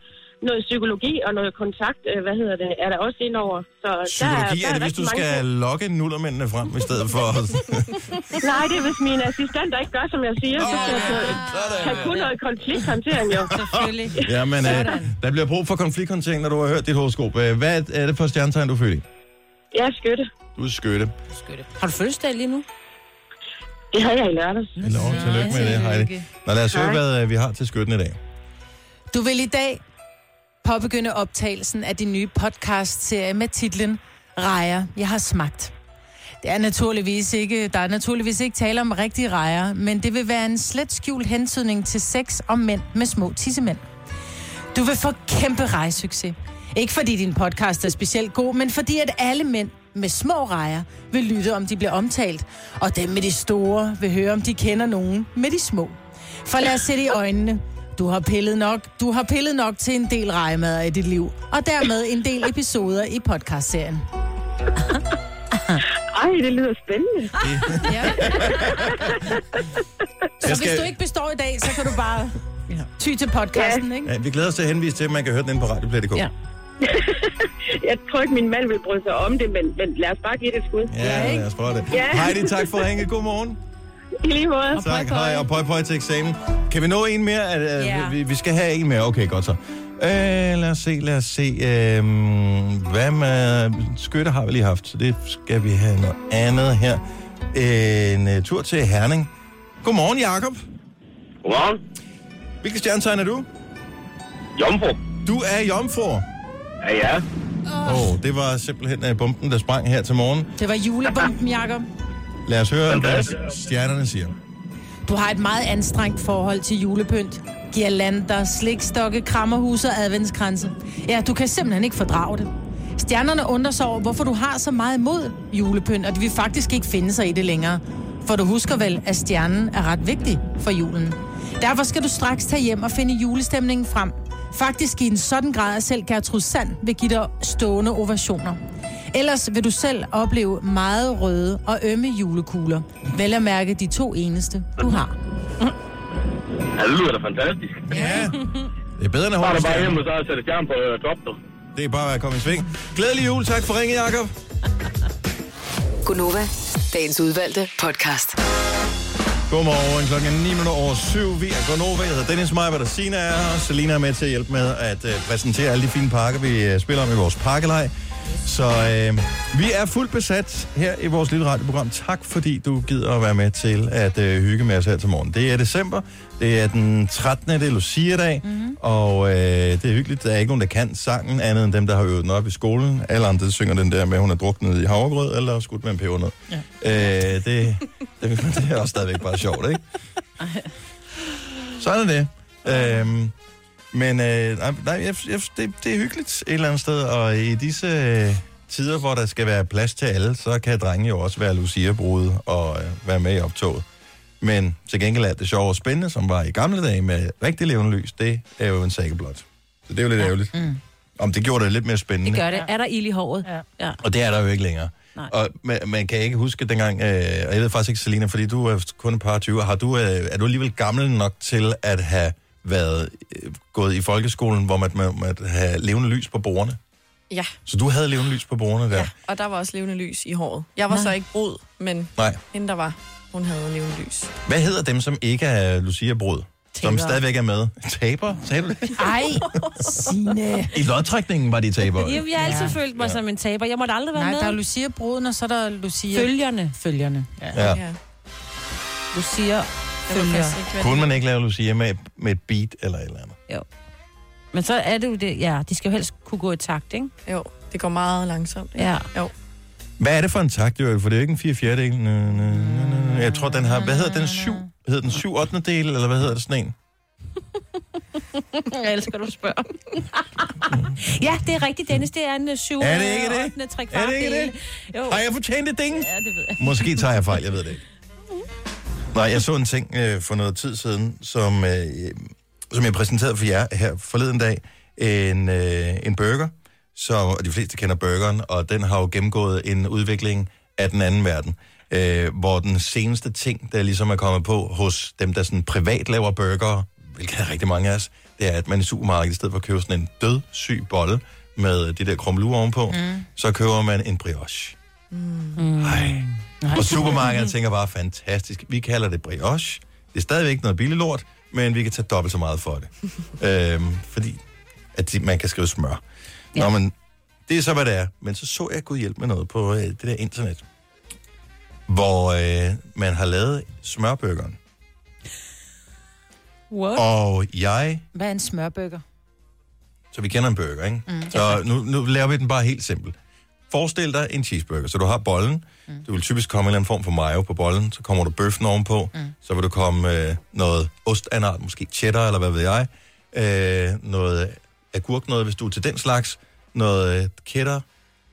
noget psykologi og noget kontakt, øh, hvad hedder det, er der også indover. Så der
Psykologi
der
er det, hvis du
rigtig mange
skal lokke nullermændene frem i stedet
[LAUGHS]
for...
ting. Nej, det er, hvis mine assistenter ikke gør, som jeg siger, så skal jeg have kun noget konflikthåndtering, jo.
Selvfølgelig.
ja, men øh, der bliver brug for konflikthåndtering, når du har hørt dit horoskop. Øh, Hvad er det for stjernetegn, du er født i?
Jeg er skytte.
Du er skytte.
Har du fødselsdag lige nu?
Det havde jeg i lørdags.
Nå, tillykke med det, Heidi. Nå, lad os høre,
Hej.
hvad øh, vi har til skytten i dag.
Du vil i dag påbegynde optagelsen af din nye podcast-serie med titlen Rejer, jeg har smagt. Det er naturligvis ikke, der er naturligvis ikke tale om rigtige rejer, men det vil være en slet skjult hentydning til sex og mænd med små tissemænd. Du vil få kæmpe rejsucces. Ikke fordi din podcast er specielt god, men fordi at alle mænd med små rejer vil lytte, om de bliver omtalt. Og dem med de store vil høre, om de kender nogen med de små. For lad os se det i øjnene. Du har pillet nok, du har pillet nok til en del rejemader i dit liv, og dermed en del episoder i podcastserien.
Ej, det lyder spændende.
Ja. Så
Jeg
hvis du ikke består i dag, så kan du bare ty til podcasten, ikke?
Ja, vi glæder os til at henvise til, at man kan høre den inde på radioplay.dk.
Ja.
Jeg tror ikke, min mand vil bryde sig om det, men, men lad os bare give det et skud.
Ja, lad os prøve det.
Ja.
Heidi, tak for at hænge. God morgen.
I lige måde.
Tak, hej, og pøj pøj til eksamen. Kan vi nå en mere? Øh,
Ja.
vi, vi skal have en mere. Okay, godt så. Øh, lad os se, lad os se. Øh, hvad med skytte har vi lige haft, så det skal vi have noget andet her. En øh, tur til Herning. Godmorgen, Jakob.
Godmorgen.
Hvilken stjernetegn er du?
Jomfru.
Du er jomfru.
Ja, ja.
Åh, oh, det var simpelthen øh, bomben, der sprang her til morgen.
Det var julebomben, Jakob.
Lad os høre, hvad stjernerne siger.
Du har et meget anstrengt forhold til julepynt. Girlander, slikstokke, krammerhus og adventskranse. Ja, du kan simpelthen ikke fordrage det. Stjernerne undrer sig over, hvorfor du har så meget imod julepynt, og de vil faktisk ikke finde sig i det længere. For du husker vel, at stjernen er ret vigtig for julen. Derfor skal du straks tage hjem og finde julestemningen frem. Faktisk i en sådan grad, at selv Gertrud Sand vil give dig stående ovationer. Ellers vil du selv opleve meget røde og ømme julekugler. Vel at mærke de to eneste, du har.
Ja, det lyder da fantastisk.
Ja. Det er bedre end at
Så er
holde
det bare
stjernen.
hjemme, og så sætter stjernen på øh, top, du.
Det er bare at komme i sving. Glædelig jul. Tak for ringen, Jakob.
Gunova, dagens udvalgte podcast.
Godmorgen. Klokken er 9 minutter over 7. Vi er Gonova. Jeg hedder Dennis Meiber, der Sina er her. og Selina er med til at hjælpe med at øh, præsentere alle de fine pakker, vi øh, spiller om i vores pakkelej. Så øh, vi er fuldt besat her i vores lille radioprogram. Tak fordi du gider at være med til at øh, hygge med os her til morgen. Det er december. Det er den 13. Det er Lucia-dag. Mm-hmm. Og øh, det er hyggeligt. Der er ikke nogen, der kan sangen, andet end dem, der har øvet den op i skolen. Alle andre synger den der med, at hun er druknet i havregrød eller skudt med en pebernød. Ja. Øh, det, det, [LAUGHS] det er også stadigvæk bare sjovt, ikke? Sådan er det. Øhm, men øh, nej, nej, jeg, jeg, det, det er hyggeligt et eller andet sted, og i disse øh, tider, hvor der skal være plads til alle, så kan drenge jo også være Lucia-brude og øh, være med i optoget. Men til gengæld er det sjove og spændende, som var i gamle dage med rigtig levende lys, det er jo en sække blot. Så det er jo lidt ja. ærgerligt. Mm. Om det gjorde det lidt mere spændende.
Det gør det. Er der ild i håret? Ja. ja.
Og det er der jo ikke længere.
Nej.
Og man, man kan ikke huske dengang, øh, og jeg ved faktisk ikke, Selina, fordi du er kun et par 20, har du, øh, er du alligevel gammel nok til at have været øh, gået i folkeskolen, hvor man man- måtte have levende lys på bordene?
Ja,
Så du havde levende lys på bordene der? Ja.
og der var også levende lys i håret. Jeg var Nej. så ikke brud, men
Nej.
hende, der var, hun havde levende lys.
Hvad hedder dem, som ikke er Lucia Brod? Som
Tabere.
stadigvæk er med. Taber? Taber?
Ej, Signe.
I lodtrækningen var de tabere.
Jeg, jeg har altid
Ja.
følt mig som en taber. Jeg måtte aldrig være
Nej,
med.
der er Lucia-bruden, og så er der Lucia...
Følgerne.
Følgerne. Ja.
Ja.
Ja.
Lucia.
Jeg ved
Følger.
faktisk ikke, hvad
Kunne man ikke lave Lucia med, med et beat eller et eller andet?
Men så er det jo det. Ja, de skal jo helst kunne gå i takt, ikke?
det- Jo, det går meget langsomt. ikke?
Ja.
Jo.
Hvad er det for en takt, jo? For det er jo ikke en 4 fjerdedel. Næ, næ, næ, næ, næ. Jeg tror, den har... Hvad hedder den? 7? Hedder den 7 8. del, eller hvad hedder det sådan en?
Jeg elsker, du spørger. [LAUGHS] ja, det er rigtigt, Dennis. Det er en øh, 7.
Er det ikke det? Er det ikke det?
Jo.
Har jeg fortjent det ding?
Ja, det ved jeg.
Måske tager jeg fejl, jeg ved det ikke. Nej, jeg så en ting øh, for noget tid siden, som, øh, som jeg præsenterede for jer her forleden dag. En, øh, en burger, som, og de fleste kender burgeren, og den har jo gennemgået en udvikling af den anden verden. Øh, hvor den seneste ting, der ligesom er kommet på hos dem, der sådan privat laver burger hvilket er rigtig mange af os, det er, at man i supermarkedet, i stedet for at købe sådan en død syg bolle med de der krumlure ovenpå, mm. så køber man en brioche.
Mm.
Ej. Og supermarkederne tænker bare, fantastisk, vi kalder det brioche. Det er stadigvæk noget billig lort, men vi kan tage dobbelt så meget for det. øhm, fordi at de, man kan skrive smør. Ja. Nå, men det er så, hvad det er. Men så så jeg, Gud hjælp med noget på øh, det der internet, hvor øh, man har lavet smørbøgeren.
What?
Og jeg,
Hvad er en smørbøger?
så vi kender en burger, ikke?
Mm.
Mm. Så nu, nu laver vi den bare helt simpel. Forestil dig en cheeseburger. Så du har bollen. Mm. Du vil typisk komme en eller anden form for mayo på bollen. Så kommer du bøffen ovenpå. Mm. Så vil du komme øh, noget ost af en art, måske cheddar eller hvad ved jeg. Øh, noget agurk, noget hvis du er til den slags. Noget øh, cheddar.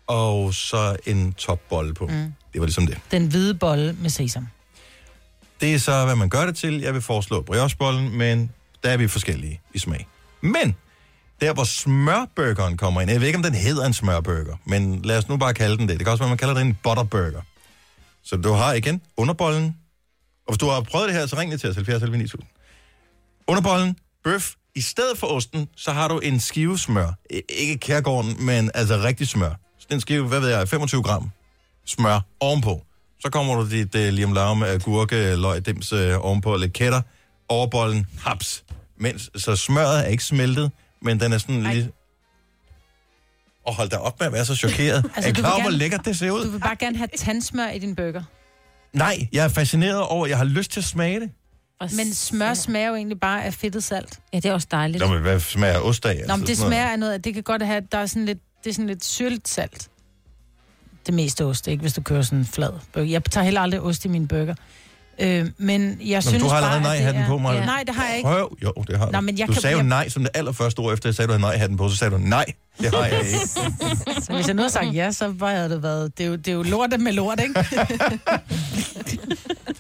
Og så en topbolle på. Mm. Det var ligesom det.
Den hvide bolle med sesam.
Det er så, hvad man gør det til. Jeg vil foreslå briochebollen, men der er vi forskellige i smag. Men der, hvor smørburgeren kommer ind, jeg ved ikke, om den hedder en smørburger, men lad os nu bare kalde den det. Det kan også være, man kalder den en butterburger. Så du har igen underbollen. Og hvis du har prøvet det her, så ring lige til os, 70 11 9000. Underbollen, bøf. I stedet for osten, så har du en skive smør. I- Ikke kærgården, men altså rigtig smør. Så den skive, hvad ved jeg, 25 gram smør ovenpå. Så kommer du dit uh, liam larm af gurke, løg, dims uh, ovenpå, lidt kætter, overbollen, haps. Mens, så smøret er ikke smeltet, men den er sådan lidt... Og hold da op med at være så
[LAUGHS]
chokeret. altså, er I
du vil
klar over, hvor
gerne-
lækkert det ser ud?
Du vil bare gerne have tandsmør i din burger.
Nej, jeg er fascineret over, at jeg har lyst til at smage det.
Men smør smager jo egentlig bare af fedtet salt.
Ja, det er også dejligt.
Nå, men hvad smager ost af?
Nå, men det
Altså, sådan noget?
smager af noget, det kan godt have, der er sådan lidt, det er sådan lidt syrligt salt. Det meste ost, ikke hvis du kører sådan en flad burger. Jeg tager heller aldrig ost i min burger. Øh, men jeg
Nå,
synes
du har
bare,
allerede
at det
nej-hatten
er-
på mig.
Ja. Nej, det har jeg ikke.
Prøv. Jo, det har du.
Nå, men jeg
du
kan-
sagde jo
jeg-
nej som det allerførste ord, efter jeg sagde, du havde nej-hatten på, så sagde du nej. Det har jeg
[LAUGHS]
ikke.
så hvis jeg nu havde sagt ja, så var jeg det været... Det er jo, det er jo lort med lort, ikke?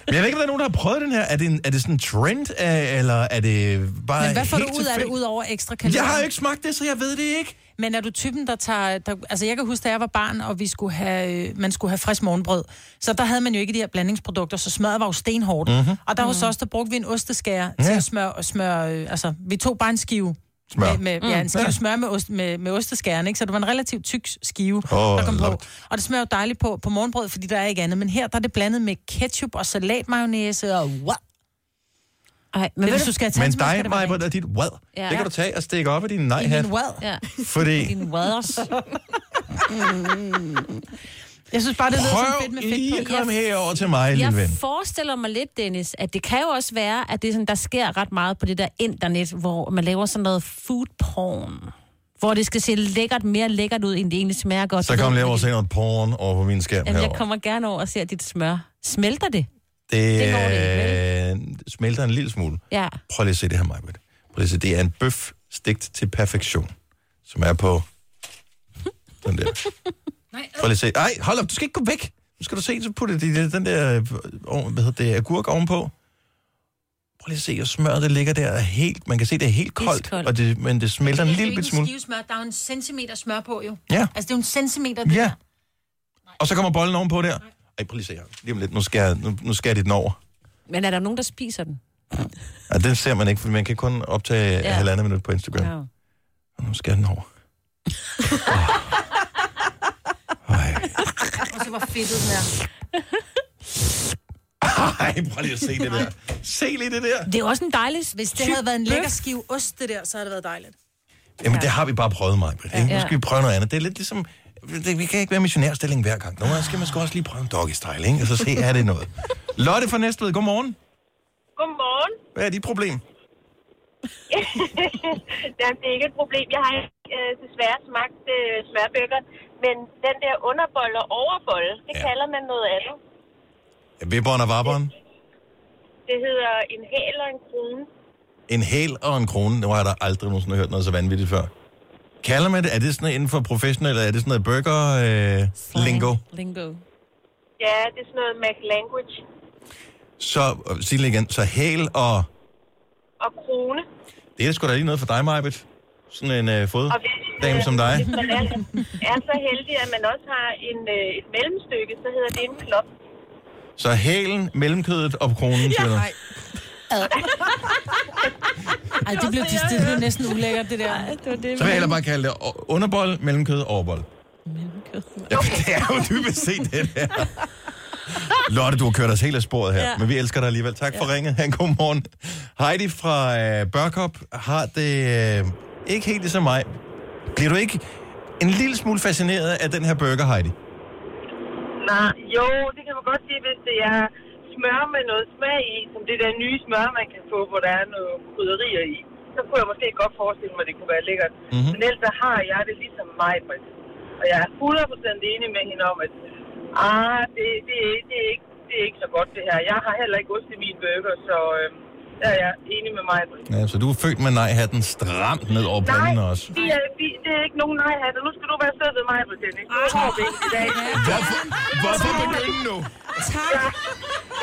Men jeg ved ikke, om der er nogen, der har prøvet den her. Er det, en, er det sådan en trend, af- eller er det bare
Men hvad får du
helt
ud af det,
tilfældigt?
ud over ekstra kalorier?
Jeg har jo ikke smagt det, så jeg ved det ikke.
Men er du typen, der tager... Der, altså, jeg kan huske, da jeg var barn, og vi skulle have, øh, man skulle have frisk morgenbrød. Så der havde man jo ikke de her blandingsprodukter, så smøret var jo stenhårdt.
Mhm.
Mm-hmm. Og der hos os, der brugte vi en osteskære ja. til
Ja.
at smøre... Og smøre øh, altså, vi tog bare en skive.
Smør. Mm.
Med, med, ja, en skive
Ja.
ja. smør med, ost, med, med osteskæren, ikke? Så det var en relativt tyk skive,
Åh,
der kom på.
lort.
Og det smager jo dejligt på, på morgenbrød, fordi der er ikke andet. Men her, der er det blandet med ketchup og salatmayonnaise og... Wow.
Ej,
men hvis du skal have
Men
tandsmag, skal
dig,
det
Maja, er dit wad.
Ja.
Ja. Det kan du tage og stikke op i din
I min
nej-hat.
wad.
Ja.
[LAUGHS]
Fordi-
Din waders.
Jeg synes bare, det lyder sådan
Prøv
fedt med
lige
fedt
at
på.
komme herover til mig, lille
Jeg
ven.
forestiller mig lidt, Dennis, at det kan jo også være, at det er sådan, der sker ret meget på det der internet, hvor man laver sådan noget food porn. Hvor det skal se lækkert, mere lækkert ud, end det egentlig smager godt.
Så kom lige over og se noget porn over på min skærm
Jamen, jeg
herovre.
kommer gerne over og ser dit smør. Smelter det?
Det,
Det
det,
går
det smelter en lille smule.
Ja.
Prøv lige at se det her, Maja. Prøv lige at se. Det er en bøf stegt til perfektion, som er på den der. [LAUGHS] Prøv lige at se. Ej, hold op, du skal ikke gå væk. Nu skal du se, så putter de det- den der øh, oven- hvad hedder det, agurk ovenpå. Prøv lige at se, og smøret det ligger der er helt, man kan se, det er helt koldt,
Iskoldt.
og det, men det smelter en lille bit smule.
smør. Der er jo en centimeter smør på, jo.
Ja.
Altså, det er jo en centimeter.
Ja. Og så kommer bollen ovenpå der. Ej, prøv lige at se her. Lige om lidt, nu skal, jeg- nu, nu skal jeg dit den over.
Men er der nogen, der spiser den?
Ja, den ser man ikke, for man kan kun optage
Ja.
ja. halvandet minut på Instagram. Ja.
Ja.
Og nu skal jeg den over.
Og så var fedtet den her.
Ej, prøv lige at se det der. Se lige det der.
Det er jo også en dejlig
Hvis det
tyk
havde været en
bøf.
lækker skive ost, det der, så havde det været dejligt.
Jamen, det har vi bare prøvet, Maja. Ja.
Ja.
Nu skal vi prøve noget andet. Det er lidt ligesom... Det, vi kan ikke være missionærstilling hver gang. Nogle gange skal man sgu også lige prøve en doggy style, ikke? Og så se, er det noget. Lotte fra Næstved, godmorgen.
Godmorgen.
Hvad er dit problem?
Jamen, det er ikke et problem. Jeg har øh, desværre smagt øh, smørbøger, men den der underbolle og overbolle, det ja. kalder man noget andet.
Vibberen og vabberen.
Det hedder en hæl og en krone.
En hæl og en krone. Nu har jeg da aldrig nogensinde hørt noget så vanvittigt før. Kalder man det? Er det sådan noget inden for professionel, eller er det sådan noget øh, burger-lingo?
Lingo.
Ja, det er sådan noget McLanguage
så, øh, sig det igen, så hæl og...
og krone.
Det er sgu da lige noget for dig, Majbet. Sådan en øh,
Og hvis,
foddame
øh,
som dig.
Hvis man er, er så heldig, at man også har en, øh, et mellemstykke, så hedder det en klop.
Så hælen, mellemkødet og kronen, siger du.
Ad.
Ej, det blev, det, det blev næsten ulækkert, det der. Ej, det var det.
Så vil jeg hellere bare kalde det o- underbold, mellemkød og overbold. Ja, for det er jo dybest set det der. Lotte, du har kørt os helt af sporet her, ja.
Ja.
men vi elsker dig alligevel. Tak for ja. ringet. Han god morgen. Heidi fra øh, Børkop har det øh, ikke helt ligesom mig. Bliver du ikke en lille smule fascineret af den her burger, Heidi?
Nej, jo, det kan man godt sige, hvis det er smør med noget smag i, som det der nye smør, man kan få, hvor der er noget krydderier i, så kunne jeg måske godt forestille mig, at det kunne være lækkert.
Mhm.
Mm-hmm. Men ellers så har jeg det ligesom mig, og jeg er 100% enig med hende om, at ah, det, det, er- det, er ikke, det er ikke så godt det her. Jeg har heller ikke ost i min burger, så øh, der er jeg enig med mig.
Ja, så du er født med nej-hatten stramt ned over
Nej,
panden også.
vi er, vi, det er ikke nogen nej hatter. Nu skal du være sød ved mig, Britannic. Nu har vi ikke i dag.
Hvorfor,
hvorfor
begynde nu?
Tak. Ja,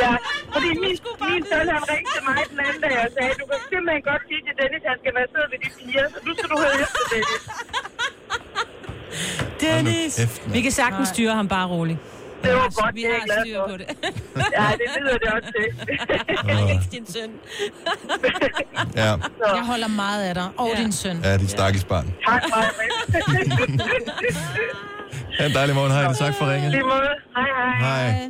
ja. fordi min, min søn, han ringte til mig den anden dag og sagde, du kan simpelthen godt sige til Dennis, han skal være sød ved de piger, så nu skal du høre efter, Dennis.
Dennis! Vi kan sagtens styre ham bare roligt.
Det var godt,
vi
det er jeg
har
glad
styr
for.
på det.
Ja, det lyder det også til.
Ikke din søn.
Ja,
Jeg holder meget af dig. Og din søn.
ja dit stakkels barn.
Tak, Maja.
Ha' en dejlig morgen, Heidi. Tak for ringet.
I lige måde. Hej, hej.
Hej.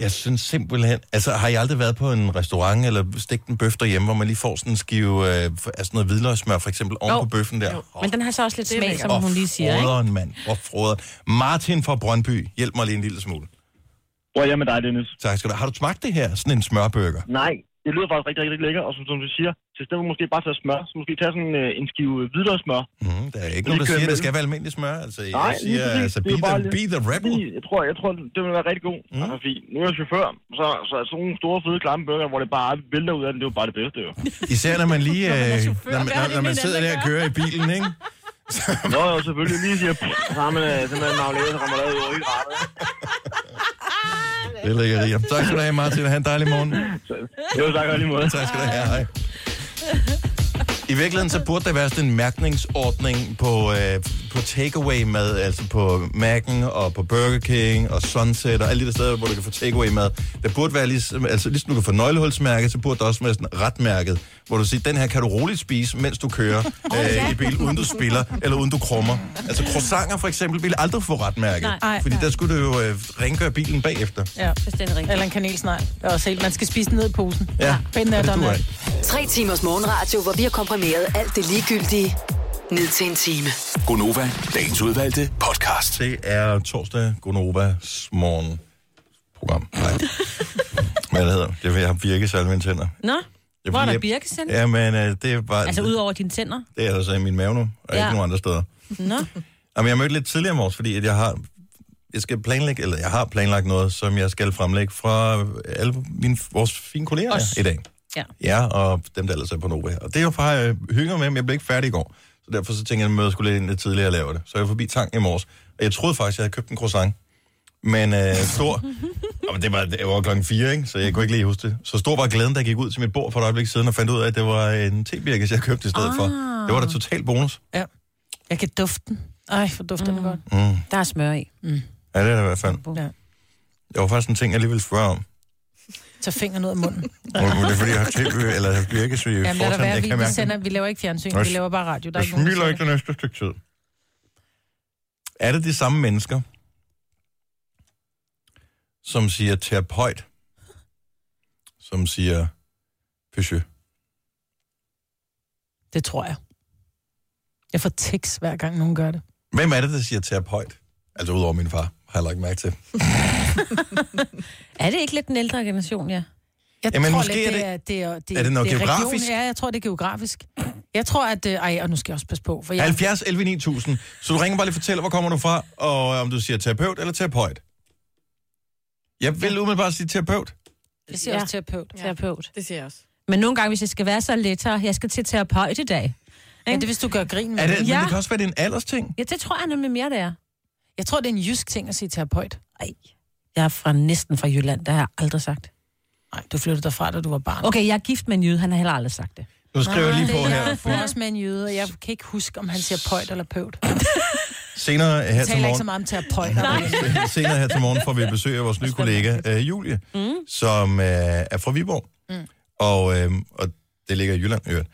Jeg synes simpelthen... Altså, har I aldrig været på en restaurant eller stegt en bøf derhjemme, hvor man lige får sådan en skive øh, altså sådan noget hvidløgsmør, for eksempel, oven
Jo.
på bøffen der? Åh,
Men den har så også lidt
det er
smag,
lækkert.
som hun lige siger,
Hvor
ikke?
froderen, mand. Hvor froderen. Martin fra Brøndby, hjælp mig lige en lille smule.
Hvor er med dig, Dennis?
Tak skal du have. Har du smagt det her? Sådan en smørburger?
Nej, det lyder faktisk rigtig, rigtig lækkert, og som, som du siger, så i stedet for måske bare tage smør, så måske tage sådan øh, en skive hvidløgsmør.
Mm, der er ikke nogen, der siger, at det skal være almindelig smør. Altså, jeg
Nej, lige
siger,
præcis.
altså,
Det
be
er jo bare
the,
lidt-
be the rebel.
Jeg tror, jeg tror, det vil være rigtig god. Mm. Altså, fordi nu er jeg chauffør, så, så er sådan nogle store, fede, klamme burger, hvor det bare vælter ud af den, det er jo bare det bedste, jo.
Især når man lige... Øh, når, man,
Hvad er det,
når, når man
min
sidder
anden
der og kører i bilen, ikke?
Nå, jo, selvfølgelig lige
[LAUGHS]
siger, pff, så har man øh, simpelthen maglæde, så har man lavet i rettet.
Det er lækkerier. Tak skal du have, Martin. Ha' en dejlig morgen.
Jo, tak og lige måde.
Tak skal du have. Hej. I virkeligheden så burde der være sådan en mærkningsordning på, øh, på takeaway-mad, altså på Mac'en og på Burger King og Sunset og alle de der steder, hvor du kan få takeaway-mad. Der burde være ligesom, altså ligesom du kan få nøglehulsmærket, så burde der også være sådan retmærket, hvor du siger, den her kan du roligt spise, mens du
[LAUGHS]
kører øh, i bil, uden du spiller eller uden du krummer. Altså croissanter for eksempel ville aldrig få retmærket,
Nej.
fordi
Nej.
der skulle du jo øh, rengøre bilen bagefter.
Ja, Eller en kanelsnegl. Det er også helt. Man skal spise den ned i posen.
Ja,
Find den
og
er
det
der
duer
med.
ikke.
Tre timers morgenradio, hvor vi har komprimeret alt det ligegyldige ned til en time.
Gonova, dagens udvalgte podcast.
Det er torsdag, Gonovas morgen program.
[LAUGHS]
Nej. Hvad det hedder? Det vil jeg virke særlig mine tænder.
Nå,
Jeg
hvor er der
bliver-
birkesind?
Jamen, øh, det var...
Altså ud over dine tænder?
Det er altså i min mave nu, og ja.
Ja.
ikke nogen andre steder.
Nå.
Jamen, jeg mødte lidt tidligere i morges, fordi at jeg har... Jeg skal planlægge, eller jeg har planlagt noget, som jeg skal fremlægge fra alle mine, vores fine kolleger
Os.
i dag.
Ja.
Ja, og dem, der ellers er på Nova her. Og det er jo fra, jeg hygger med, men jeg blev ikke færdig i går. Så derfor så tænkte jeg, at jeg møder skulle lidt ind lidt tidligere og lave det. Så jeg var forbi tanken i morges. Og jeg troede faktisk, at jeg havde købt en croissant. Men øh,
[LAUGHS]
stor... Jamen, det var, det var klokken fire, ikke? så jeg kunne ikke lige huske det. Så stor var glæden, da jeg gik ud til mit bord for et øjeblik siden og fandt ud af, at det var en tebirkes, jeg købte i stedet ah. for. Det var da totalt bonus.
Ja. Jeg kan dufte den. Ej, for dufter mm. den godt.
Mm.
Der er smør i.
Mm.
Ja, det er det i hvert fald.
Ja.
Det var faktisk en ting, jeg lige ville spørge
[LAUGHS]
om.
Tag fingeren ud af munden.
Men men det er fordi, jeg har tv, eller jeg bliver ikke så
Jamen, lad det være.
jeg
Vi,
kan
vi,
mærke
sender,
det.
vi laver ikke fjernsyn,
Jeg
vi laver bare radio. Der er
Jeg
ikke nogen, der
smiler
ser
ikke det næste stykke tid. Er det de samme mennesker, som siger terapeut, som siger Peugeot?
det. Det tror jeg. Jeg får tics, hver gang nogen gør det.
Hvem er det, der siger terapeut? Altså udover min far, har jeg lagt mærke til.
Er det ikke lidt den ældre generation, ja?
Jeg
Jamen,
tror
måske
lidt,
er det-
er, det, er, det,
er det noget
det region.
geografisk?
Ja, jeg tror, det er geografisk. Jeg tror, at... øh, Ej, og nu skal jeg også passe på, for jeg...
70 11 9000. Så du ringer bare lige og fortæller, hvor kommer du fra, og øh, om du siger terapeut eller terapeut. Jeg vil umiddelbart sige terapeut.
Det siger også terapeut.
Ja. Terapeut.
Det siger jeg også.
Men nogle gange, hvis jeg skal være så lettere, jeg skal til terapeut i dag. Ja, det
er, hvis du gør grin
Er det, men
ja.
det kan også være, det er en aldersting.
ja, det tror jeg nemlig mere, det er.
Jeg tror, det er en jysk ting at sige terapeut.
Ej, jeg er fra, næsten fra Jylland, der har jeg aldrig sagt.
Nej, du flyttede derfra, da du var barn.
Okay, jeg er gift med en jyde, han har heller aldrig sagt det.
Nu skriver jeg lige på her.
Jeg bor også med en jøde, og jeg kan ikke huske, om han siger pøjt eller pøvt.
Senere her
Jeg
til
taler ikke så
morgen.
meget om terapeuter.
Senere her til morgen får vi besøg af vores nye kollega, øh, Julie,
Mm.
som øh, er fra Viborg.
Mm. [LAUGHS]
Og, øh, og det ligger i Jylland, i øvrigt.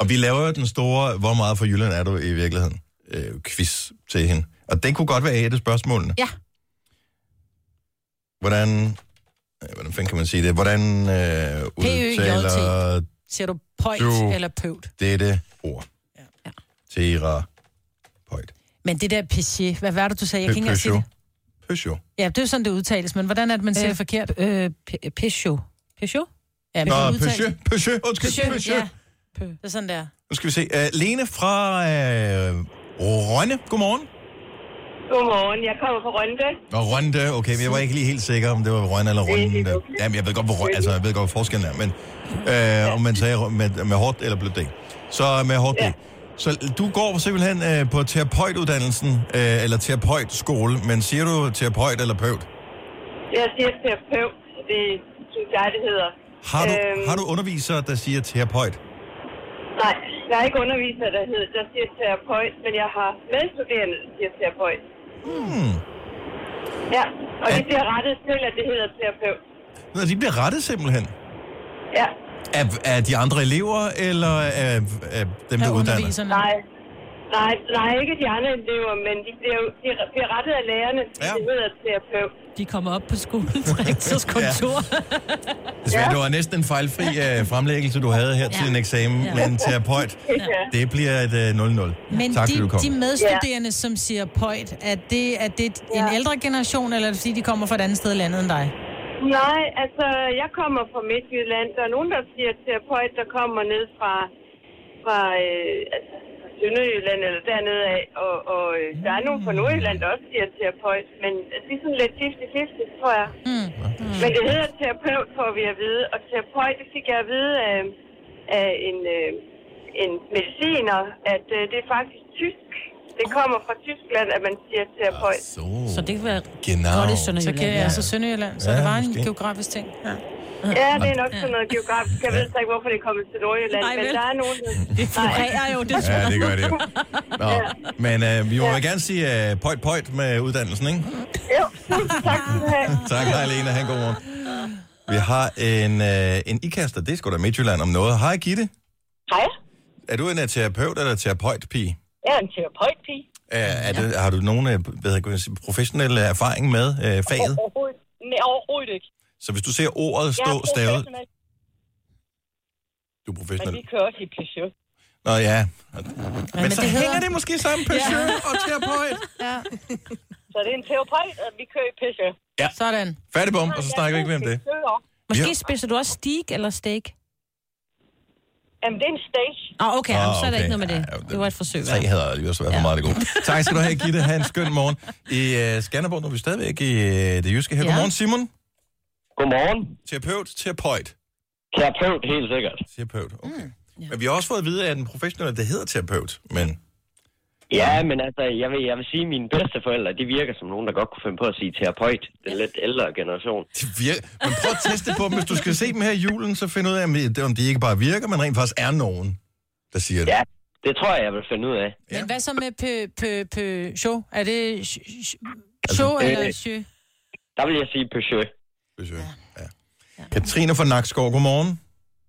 Og vi laver jo den store, hvor meget for Jylland er du i virkeligheden, øh, quiz til hende. Og det kunne godt være et af spørgsmålene.
Ja.
Hvordan, øh, hvordan fanden kan man sige det? Hvordan øh, udtaler
P-Ø-J-T. Siger du pøjt
Du-
du. eller pøvt?
dette ord? Ja. Tera
Men det der pichet, hvad var det, du sagde? Jeg kan ikke engang sige
Peugeot.
det.
Peugeot.
Ja, det er jo sådan, det udtales, men hvordan er det, man siger
Øh,
det forkert? Øh, Peugeot.
Peugeot?
Ja, men
Nå,
det udtales-
Peugeot. Peugeot. Undskyld, Peugeot.
Ja. Det er sådan der.
Nu skal vi se. Uh, Lene fra uh, Rønne. Godmorgen.
Godmorgen, jeg kommer fra Rønde.
Og Rønne, okay, men jeg var ikke lige helt sikker, om det var Rønne eller Rønne. der. Jamen, jeg ved godt, hvor, Rø- altså, jeg ved godt, hvor forskellen er, men øh, om man sagde Rø- med, med hårdt eller blødt D. Så øh, med hårdt ja. D. Så du går simpelthen øh, på terapeutuddannelsen, øh, eller terapeutskole, men siger du terapeut eller pøvt?
Jeg siger terapeut, det synes jeg, det hedder.
Har du, har du undervisere, der siger terapeut?
Nej, jeg er ikke underviser, der, hedder, der siger terapeut, men jeg har medstuderende, der siger terapeut.
Hmm.
Ja, og det bliver rettet til, at det hedder terapeut.
Nå, Altså, de bliver rettet simpelthen.
Ja.
Af, af de andre elever, eller af, af dem, der uddanner?
Nej, nej, nej, ikke de andre elever, men de bliver, jo- de bliver rettet af lærerne, ja. det hedder terapeut.
De kommer op på skolens
[LAUGHS]
rektorskontor.
Desværre, ja. det var næsten en fejlfri øh, fremlæggelse, du havde her ja. til en eksamen, ja.
Ja.
men terapeut,
[LAUGHS] Ja.
det bliver et øh, 0-0.
Men
tak, fordi
de,
du kom.
de medstuderende, som siger pøjt, er det, er det en ældre generation, eller er det fordi, de kommer fra et andet sted i landet end dig?
Nej, altså, jeg kommer fra Midtjylland. Der er nogen, der siger terapeut, der kommer ned fra, fra øh, altså, fra Sønderjylland eller dernede af. Og, og øh, der er nogen fra Nordjylland, der også siger terapeut. Men det er sådan lidt 50-50, tror jeg.
Mm.
Men det hedder terapeut, får vi at vide. Og terapeut, det fik jeg at vide af, af en, øh, en mediciner, at øh, det er faktisk tysk. Det kommer fra Tyskland, at man siger terapeut.
Så det kan være
Genau.
godt i Sønderjylland. Så, kan, ja, så Sønderjylland, så
Ja,
ja, det var en
måske.
geografisk ting. Ja.
Ja, det er nok sådan noget geografisk. Jeg ved så ikke, hvorfor det er kommet til Nordjylland,
Nej,
men
vel?
der er nogen, der...
florerer jo, det
Ja, det gør det
[LAUGHS]
jo. Nå, men øh, vi må ja. gerne sige øh, pøjt pøjt med uddannelsen, ikke?
Jo, tak skal du have.
Tak, dig, Lena. Ha' en god morgen. Vi har en, øh, en ikaster, det er sgu da Midtjylland om noget. Hej, Gitte.
Hej.
Er du en øh, terapeut eller terapeutpige?
Jeg er en terapeutpige.
Øh, Er, er det, har du nogen øh, hvad kan jeg sige, professionel erfaring med øh, faget?
Overhovedet, nej, overhovedet ikke.
Så hvis du ser ordet
Jeg er
stå stavet,
professionel,
du
Men
er professionel.
vi kører også i Peugeot.
Nå ja.
men
Men,
det
men så det
hedder-
hænger det måske sammen, Peugeot
Ja.
og terapeut.
Ja. Så det er en terapeut, og vi kører i Peugeot.
Ja.
Sådan.
Færdig bum, og så snakker vi ikke mere om det.
Måske
Ja.
spiser du også steak eller steak?
Jamen, det er en steak.
Åh, oh, okay,
Ah,
oh, så er der
okay.
ikke noget med det. Det var et forsøg.
Tre havde aldrig også været for meget det gode. Tak skal du have, Gitte. Ha' en skøn morgen. I uh, Skanderborg, nu er vi stadigvæk i uh, det jyske her.
Ja.
Godmorgen, Simon.
Godmorgen.
Terapeut, terapeut.
Terapeut, helt sikkert.
Terapeut, okay. Mm. Men vi har også fået at vide, at en professionel, det hedder terapeut, men...
Ja, men altså, jeg vil, jeg vil sige, at mine bedsteforældre, de virker som nogen, der godt kunne finde på at sige terapeut. Den lidt ældre generation.
vir- Men prøv at teste på dem. Hvis du skal se dem her i julen, så find ud af, om de- om de ikke bare virker, men rent faktisk er nogen, der siger det.
Ja, det tror jeg, jeg vil finde ud af.
Men hvad så med pø, pø, pø, show? Er det sh, sh, show
Altså,
eller
øh,
sjø?
Der vil jeg sige Peugeot.
Peugeot, ja. Katrine fra Nakskov, godmorgen.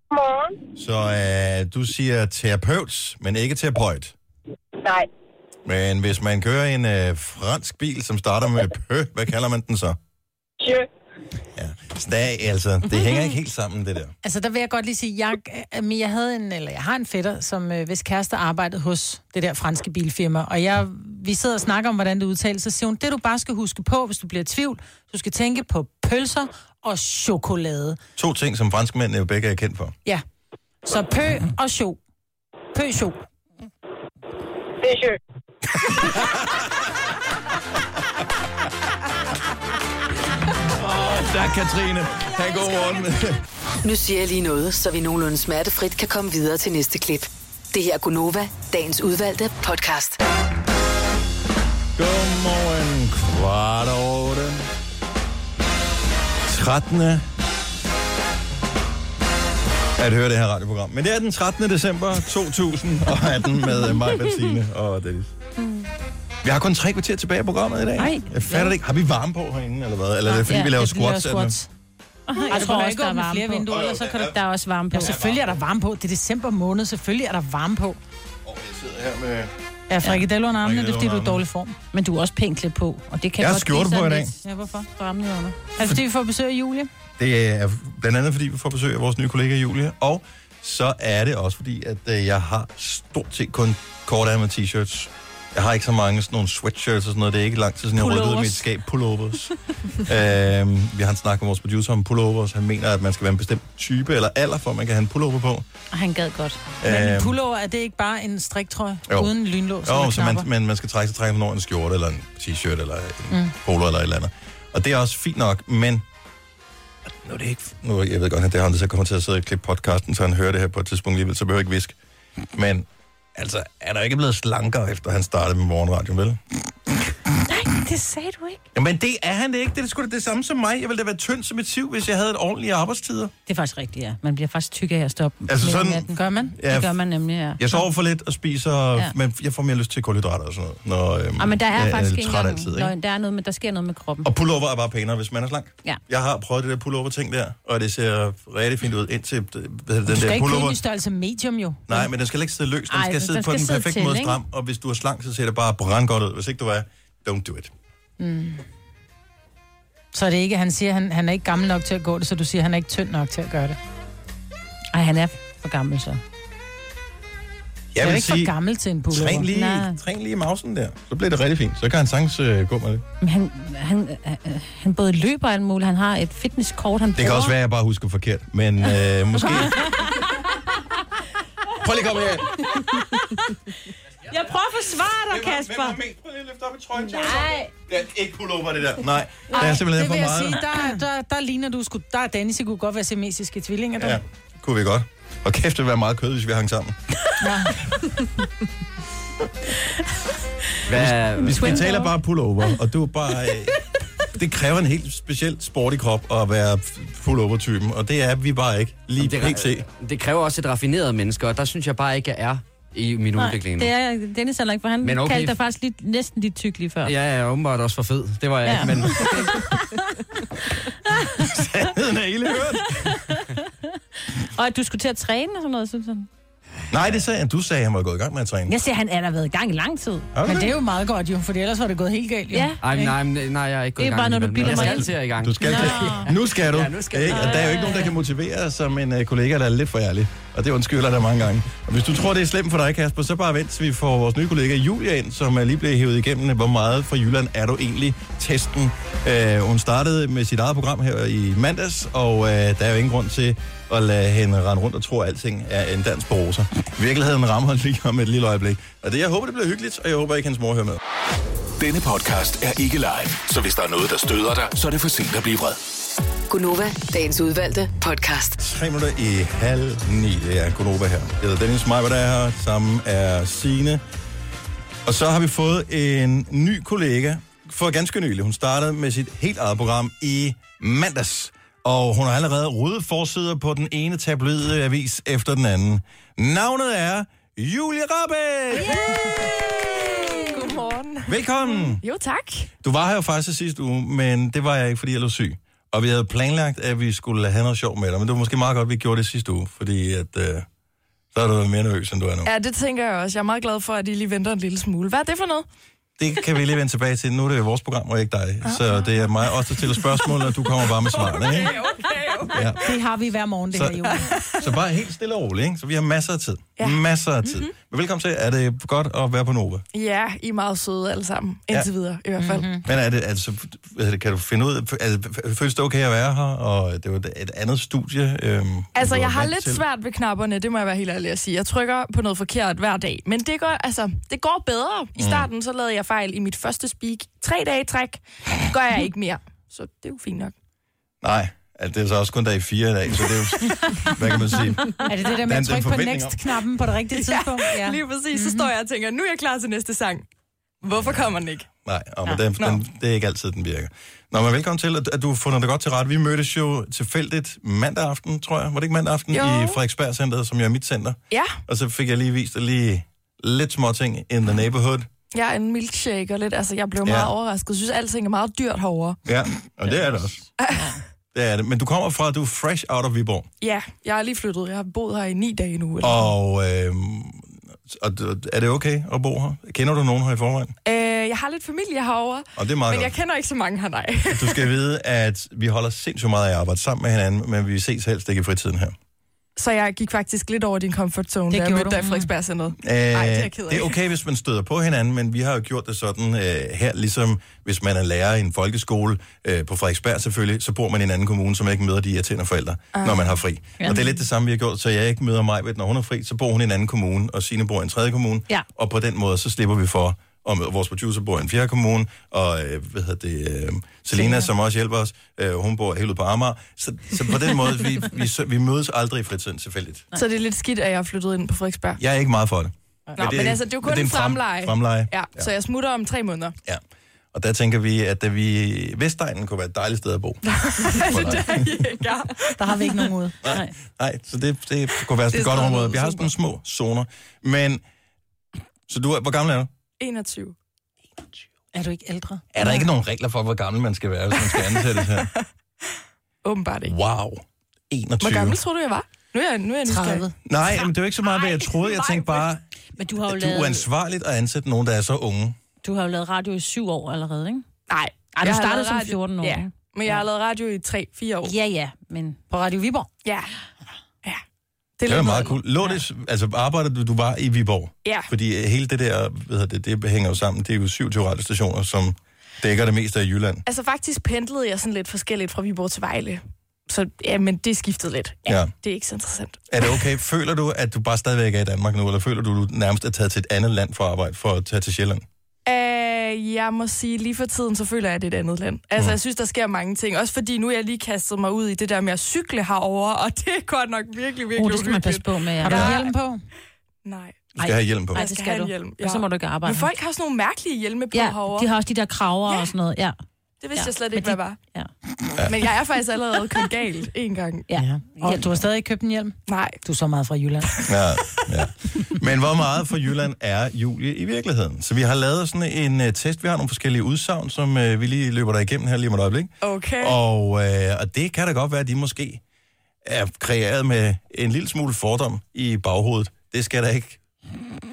Godmorgen.
Så øh, du siger terapeut, men ikke terapeut.
Nej,
Men hvis man kører en øh, fransk bil, som starter med pø, hvad kalder man den så?
sjø.
Stag, altså. Det hænger ikke helt sammen, det der.
Altså, der vil jeg godt lige sige, jeg, øh, men jeg, havde en, eller jeg har en fætter, som øh, hvis kæreste arbejdede hos det der franske bilfirma, og jeg, vi sidder og snakker om, hvordan det udtales, så siger hun, det du bare skal huske på, hvis du bliver i tvivl, du skal tænke på pølser og chokolade.
To ting, som franskmændene jo begge er kendt for.
Ja. Så pø og sjo. Pø sjo.
Det er sjø.
Åh, tak, Katrine. Ha' en god morgen.
Nu siger jeg lige noget, så vi nogenlunde smertefrit kan komme videre til næste klip. Det her er Gunova, dagens udvalgte podcast.
Godmorgen. Kvart over 8. 13. At høre det her radioprogram. Men det er den 13. december 2018 med øh, mig, Bettine og Dennis. Vi har kun tre kvarter tilbage i programmet i dag.
Nej.
Jeg fatter det ikke. Har vi varme på herinde, eller hvad? Eller er det fordi,
Ja,
vi laver
det er, fordi
squats?
vi laver squats. Jeg tror også, der er varme flere vinduer, ellers så kan du...
Der er også varme på.
Ja, selvfølgelig er der varme på. Det er december måned, selvfølgelig er der varme på.
Her med...
Ja, frikadeller under armene, det er fordi, du er i dårlig form.
Men du er også pænt klædt på, og det kan
Jeg har
godt blive
skjorte på
sådan
i dag.
lidt-
Ja, hvorfor?
Stramme ned under.
Er det fordi, vi får besøg af Julie?
Det er blandt andet, fordi vi får besøg af vores nye kollega Julie, og så er det også fordi, at øh, jeg har stort set kun kortærmede t-shirts. Jeg har ikke så mange sådan nogle sweatshirts og sådan noget. Det er ikke lang tid, siden jeg ryddede
Pullovers.
mit skab pullovers. [LAUGHS] øhm, vi har en snak med vores producer om pullovers. Han mener, at man skal være en bestemt type eller alder, for at man kan have en pullover på.
Og han gad godt.
Men
Øhm.
en pullover, er det ikke bare en striktrøje
Jo.
uden lynlås?
Jo,
eller
så man,
knapper?
man, man skal trække sig trække den over en skjorte, eller en t-shirt, eller en mm.
Mm.
polo, eller et eller andet. Og det er også fint nok, men... Nu er det ikke... Nu, jeg ved godt, at det er ham, der så kommer til at sidde og klippe podcasten, så han hører det her på et tidspunkt alligevel, så behøver jeg ikke viske. Men altså, han er jo ikke blevet slankere, efter han startede med morgenradio, vel?
Nej, det sagde du ikke.
Jamen, det er han det ikke. Det er sgu da det samme som mig. Jeg ville da være tynd som et siv, hvis jeg havde et ordentligt arbejdstider.
Det er faktisk rigtigt, ja. Man bliver faktisk tyk af at stoppe.
Altså
midt om
sådan-
natten. Gør man?
Ja.
Det gør man nemlig, ja.
Jeg sover for lidt og spiser, ja.
Ja.
men jeg får mere lyst til kulhydrater og sådan noget. Når, øhm,
Ja, men der er
jeg
faktisk ikke
træt
engang
altid, ikke?
løgn. Der, er noget med, der sker noget med kroppen.
Og pullover er bare pænere, hvis man er slank.
Ja.
Jeg har prøvet det der pullover-ting der, og det ser rigtig fint ud indtil øh, hvad hedder det,
Du
den
skal
der
ikke
pullover.
købe i størrelse medium, jo.
Nej, men den skal ikke sidde løs. Den
Ej,
skal
den-
sidde
den
på
skal
den
sidde
perfekte
til,
måde
ikke?
stram, og hvis du er slank, så ser det bare brand godt ud. Hvis ikke du er, don't do it.
Mm. Så er det ikke, han siger, han, han er ikke gammel nok til at gå det, så du siger, han er ikke tynd nok til at gøre det.
Ej, han er for gammel, så.
Jeg er jo ikke for gammel til en pullover.
Træn lige,
Nej.
træn lige mausen der. Så bliver det rigtig fint. Så kan han sagtens øh, gå med det.
Men han, han, øh, øh, han både løber og alt muligt. Han har et fitnesskort, han
Det kan også være, at jeg bare husker forkert, men øh, måske... [LAUGHS] Prøv lige at komme her.
Jeg prøver at forsvare dig, Kasper.
Prøv lige at løfte op i trøjen.
Nej.
Det er ikke pullover, det der. Nej, der er simpelthen
det
for
vil jeg
meget.
sige, der, der, der ligner du sgu, der er Dennis, det kunne godt være semesiske tvillinger, der.
Ja, kunne vi godt. Og kæft, det ville være meget kød, hvis vi hang sammen.
Ja.
Hvad,
Vi, vi taler bare pullover, og du er bare... Øh, det kræver en helt speciel sporty krop at være pullover-typen, og det er vi bare ikke. Lige det, pt.
det kræver også et raffineret menneske, og der synes jeg bare ikke, jeg er i min
Nej,
udvikling endnu.
det er jeg- Dennis heller ikke, for han
Men okay.
okay. kaldte dig faktisk lidt, næsten lidt tyk lige før.
Ja, jeg er åbenbart også for fed. Det var jeg ja.
Ja. [LAUGHS]
ikke, men...
Sandheden er hele hørt.
[LAUGHS] Og at du skulle til at træne og sådan noget, synes han.
Nej, det sagde han. Du sagde, at han var gået i gang med at træne.
Jeg ser, han er der været i gang i lang tid.
Er du
Men
det?
det er jo meget godt, jo, for ellers var det gået helt galt, jo.
Ja.
Ej, men nej, men nej, jeg er ikke gået
Det er
i gang
bare, når du
alligevel, men
bilder
jeg
mig
skal
ind.
til at i gang.
Du skal til. Nu skal du.
Ja, nu skal
ikke? Og der er jo ikke nogen, der kan motivere dig som en øh, kollega, der er lidt for ærlig. Og det undskylder der mange gange. Og hvis du tror, det er slemt for dig, Kasper, så bare vent, til vi får vores nye kollega Julia ind, som er lige blevet hævet igennem. øh, Hvor meget fra Jylland er du egentlig? Testen. Øh, hun startede med sit eget program her i mandags, og øh, der er jo ingen grund til at lade hende rende rundt og tro, at alting er en dans på roser. Virkeligheden rammer lige om et lille øjeblik. Og det, jeg håber, det bliver hyggeligt, og jeg håber ikke, hans mor hører med.
Denne podcast er ikke live, så hvis der er noget, der støder dig, så er det for sent at blive vred.
Gunova, dagens udvalgte podcast.
Tre minutter i halv ni. Det er Konoba her. Jeg hedder Dennis Meiber, der er her. Sammen er Signe. Og så har vi fået en ny kollega for ganske nylig. Hun startede med sit helt eget program i mandags. Og hun har allerede røde forsider på den ene tabloide avis efter den anden. Navnet er Julie Rabeck!
Godmorgen.
Velkommen!
Jo, tak.
Du var her jo faktisk i sidste uge, men det var jeg ikke, fordi jeg lå syg. Og vi havde planlagt, at vi skulle have noget sjov med dig, men det var måske meget godt, at vi gjorde det sidste uge, fordi at, øh, så er du mere nervøs, end du er nu.
Ja, det tænker jeg også. Jeg er meget glad for, at I lige venter en lille smule. Hvad er det for noget?
Det kan vi lige vende tilbage til. Nu er det jo vores program, og ikke dig.
Ah.
Så det er mig også, der stiller spørgsmål, og du kommer bare med svarene. Ikke? Ja.
Det har vi hver morgen, det
Så-
her, jo.
Så bare helt stille og roligt, ikke? Så vi har masser af tid. Ja. Masser af tid.
Mhm.
Mm-hmm. Men velkommen til. Er det godt at være på Nova?
Ja, I er meget søde alle sammen. Indtil
Ja.
videre, i hvert fald. Mm-hmm.
Men er det, altså, hvad hedder det, kan du finde ud af, altså, føles det okay at være her, og det var et andet studie? Øhm, end
Altså,
du var
jeg har
vant
lidt
til?
svært ved knapperne, det må jeg være helt ærlig at sige. Jeg trykker på noget forkert hver dag, men det går, altså, det går bedre. I starten så lavede jeg fejl i mit første speak. Tre dage i træk gør jeg ikke mere, så det er jo fint nok.
Nej, altså, det er så også kun dag i fire i dag, så det er jo,
[LAUGHS]
hvad kan man sige?
Er det det der
Der
med
er en
at trykke på
forventning om-
next-knappen på det rigtige tidspunkt?
Ja, Mhm. lige præcis. Så står jeg og tænker, nu er jeg klar til næste sang. Hvorfor kommer den ikke?
Nej, og men den, den, det er ikke altid, den virker. Nå, men velkommen til, at- at du har fundet dig godt til ret. Vi mødtes jo tilfældigt mandag aften, tror jeg. Var det ikke mandag aften?
Jo.
I Frederiksberg Centeret, som jo er mit center.
Ja,
Og så fik jeg lige vist dig lige lidt små ting in the neighborhood.
jeg er en milkshake og lidt, altså, jeg blev
Ja.
meget overrasket. Jeg synes, alting er meget dyrt herovre. [LAUGHS]
Ja, og det er det også. Det er det. Men du kommer fra, du er fresh out of Viborg.
Ja, jeg er lige flyttet. Jeg har boet her i ni dage nu. Eller?
Og, øh, og d- er det okay at bo her? Kender du nogen her i forvejen?
Øh, jeg har lidt familie herovre,
Og det er meget
men jeg
godt.
kender ikke så mange her, nej. [LAUGHS]
Du skal vide, at vi holder sindssygt meget af at arbejde sammen med hinanden, men vi ses helst ikke i fritiden her.
Så jeg gik faktisk lidt over din comfort
Det
zone, det da jeg
gjorde
mødte
du.
dig i Frederiksberg Centeret.
Øh,
Ej, det er jeg ked af.
det er okay, hvis man støder på hinanden, men vi har jo gjort det sådan øh, her, ligesom hvis man er lærer i en folkeskole øh, på Frederiksberg selvfølgelig, så bor man i en anden kommune, så man ikke møder de irriterende forældre,
Ah.
ah. når man har fri.
Ja.
Og det er lidt det samme, vi har gjort, så jeg ikke møder mig, når hun er fri, så bor hun i en anden kommune, og Signe bor i en tredje kommune,
Ja.
og på den måde, så slipper vi for, og med- vores producer bor i en fjerde kommune, og øh, hvad hedder det, øh, Selina, som også hjælper os, øh, hun bor helt ude på Amager. Så, så på den måde, vi, vi, vi, vi mødes aldrig i fritiden, selvfølgelig.
Så det er lidt skidt, at jeg er flyttet ind på Frederiksberg.
Jeg er ikke meget for det.
Nå, men, det, men altså, det er jo kun
men
det er en
frem-
fremleje.
fremleje.
Ja, ja, så jeg smutter om tre måneder.
Og der tænker vi, at da vi Vestegnen kunne være et dejligt sted at bo.
[LAUGHS]
Der har vi ikke nogen ude.
Nej. Nej, så det, det kunne være sådan et
Det er
godt
sådan
område.
noget,
Vi har sådan nogle små zoner. Men, så du, er- hvor gammel er du?
21.
Er du ikke ældre?
Er der ikke nogen regler for, hvor gammel man skal være, hvis man skal ansættes her?
Åbenbart ikke.
[LAUGHS] Wow, 21.
Hvor gammel tror du, jeg var? Nu er jeg, nu er jeg 30.
Nej, men det er jo ikke så meget, hvad jeg troede. Jeg tænkte bare,
Men du har jo
du er
lavet,
uansvarligt at ansætte nogen, der er så unge.
du har jo lavet radio i syv år allerede, ikke?
Nej.
Ej, du
Jeg har
startede
lavet
som
radio-
14 år.
Ja,
ikke?
men jeg har lavet radio i 3-4 år.
Ja, ja, men...
På Radio Viborg?
Ja. Ja.
Det, det var
lidt
meget cool. Lå det, altså arbejder du, du var i Viborg?
Ja.
Fordi øh, hele det der, hvad hedder det, det hænger jo sammen. Det er jo 27 radiostationer, som dækker det meste af Jylland.
Altså faktisk pendlede jeg sådan lidt forskelligt fra Viborg til Vejle. Så ja, men det skiftede lidt.
Ja.
Det er ikke så interessant.
Er det okay? Føler du, at du bare stadigvæk er i Danmark nu, eller føler du, du nærmest er taget til et andet land for at arbejde, for at tage til Sjælland?
Øh, jeg må sige, lige for tiden, så føler jeg, at det er et andet land.
Mm.
Altså, jeg synes, der sker mange ting. Også fordi nu er jeg lige kastet mig ud i det der med at cykle herover, og det er godt nok virkelig, virkelig
Oh, det skal man
uhyggeligt.
passe på med, ja.
Har du hjelm på?
Nej.
Du skal have hjelm på.
Nej,
Jeg
det
skal
skal
have
du.
en hjelm,
Ja. Så må du ikke arbejde.
Men folk har sådan nogle mærkelige hjelme på
ja,
herover.
de har også de der kraver ja. og sådan noget. Ja.
Det vidste
Ja,
jeg slet
men
ikke, hvad var.
Ja.
Men jeg er faktisk allerede kørt galt en gang.
Ja.
Og du har stadig ikke købt en hjelm?
Nej.
Du er så meget fra Jylland.
Ja, ja. Men hvor meget for Jylland er Julie i virkeligheden? Så vi har lavet sådan en uh, test. Vi har nogle forskellige udsagn, som uh, vi lige løber dig igennem her lige om et øjeblik.
Okay.
Og, uh, og det kan da godt være, at de måske er kreeret med en lille smule fordom i baghovedet. Det skal der ikke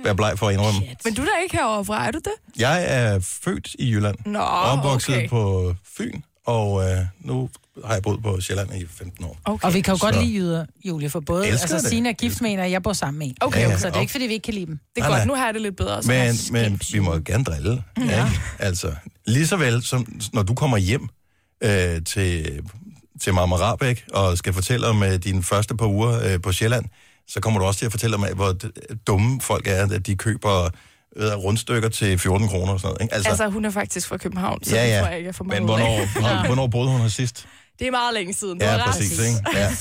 være bleg for at indrømme.
Men du er da ikke herovre fra, er du det?
Jeg er født i Jylland.
Nå,
opvokset
okay.
på Fyn, og øh, nu har jeg boet på Sjælland i 15 år.
Okay. Og vi kan jo godt
Så-
lide jyder, Julie, for både
Elsker
altså,
det.
Signe er gift med en, og jeg bor sammen med en.
Okay, Ja, ja.
Så det er ikke,
Og-
fordi vi ikke kan lide dem.
Det
Nej,
er godt,
nej.
nu har jeg det lidt bedre. så
Men,
også.
men vi må jo gerne drille. Ja. Ikke? Altså, lige så vel som når du kommer hjem øh, til, til Marmar Rabeck og skal fortælle om øh, dine første par uger øh, på Sjælland, så kommer du også til at fortælle om, øh, hvor d- dumme folk er, at de køber øh, rundstykker til 14 kroner og sådan noget. Ikke?
Altså, altså, hun er faktisk fra København, så
ja,
det
ja.
tror jeg ikke, jeg får meget
Men
ud af.
hvornår, hvornår, hvornår boede hun her sidst?
[LAUGHS] Det er meget længe siden. Du
Ja,
har ret.
præcis. Ikke? Ja.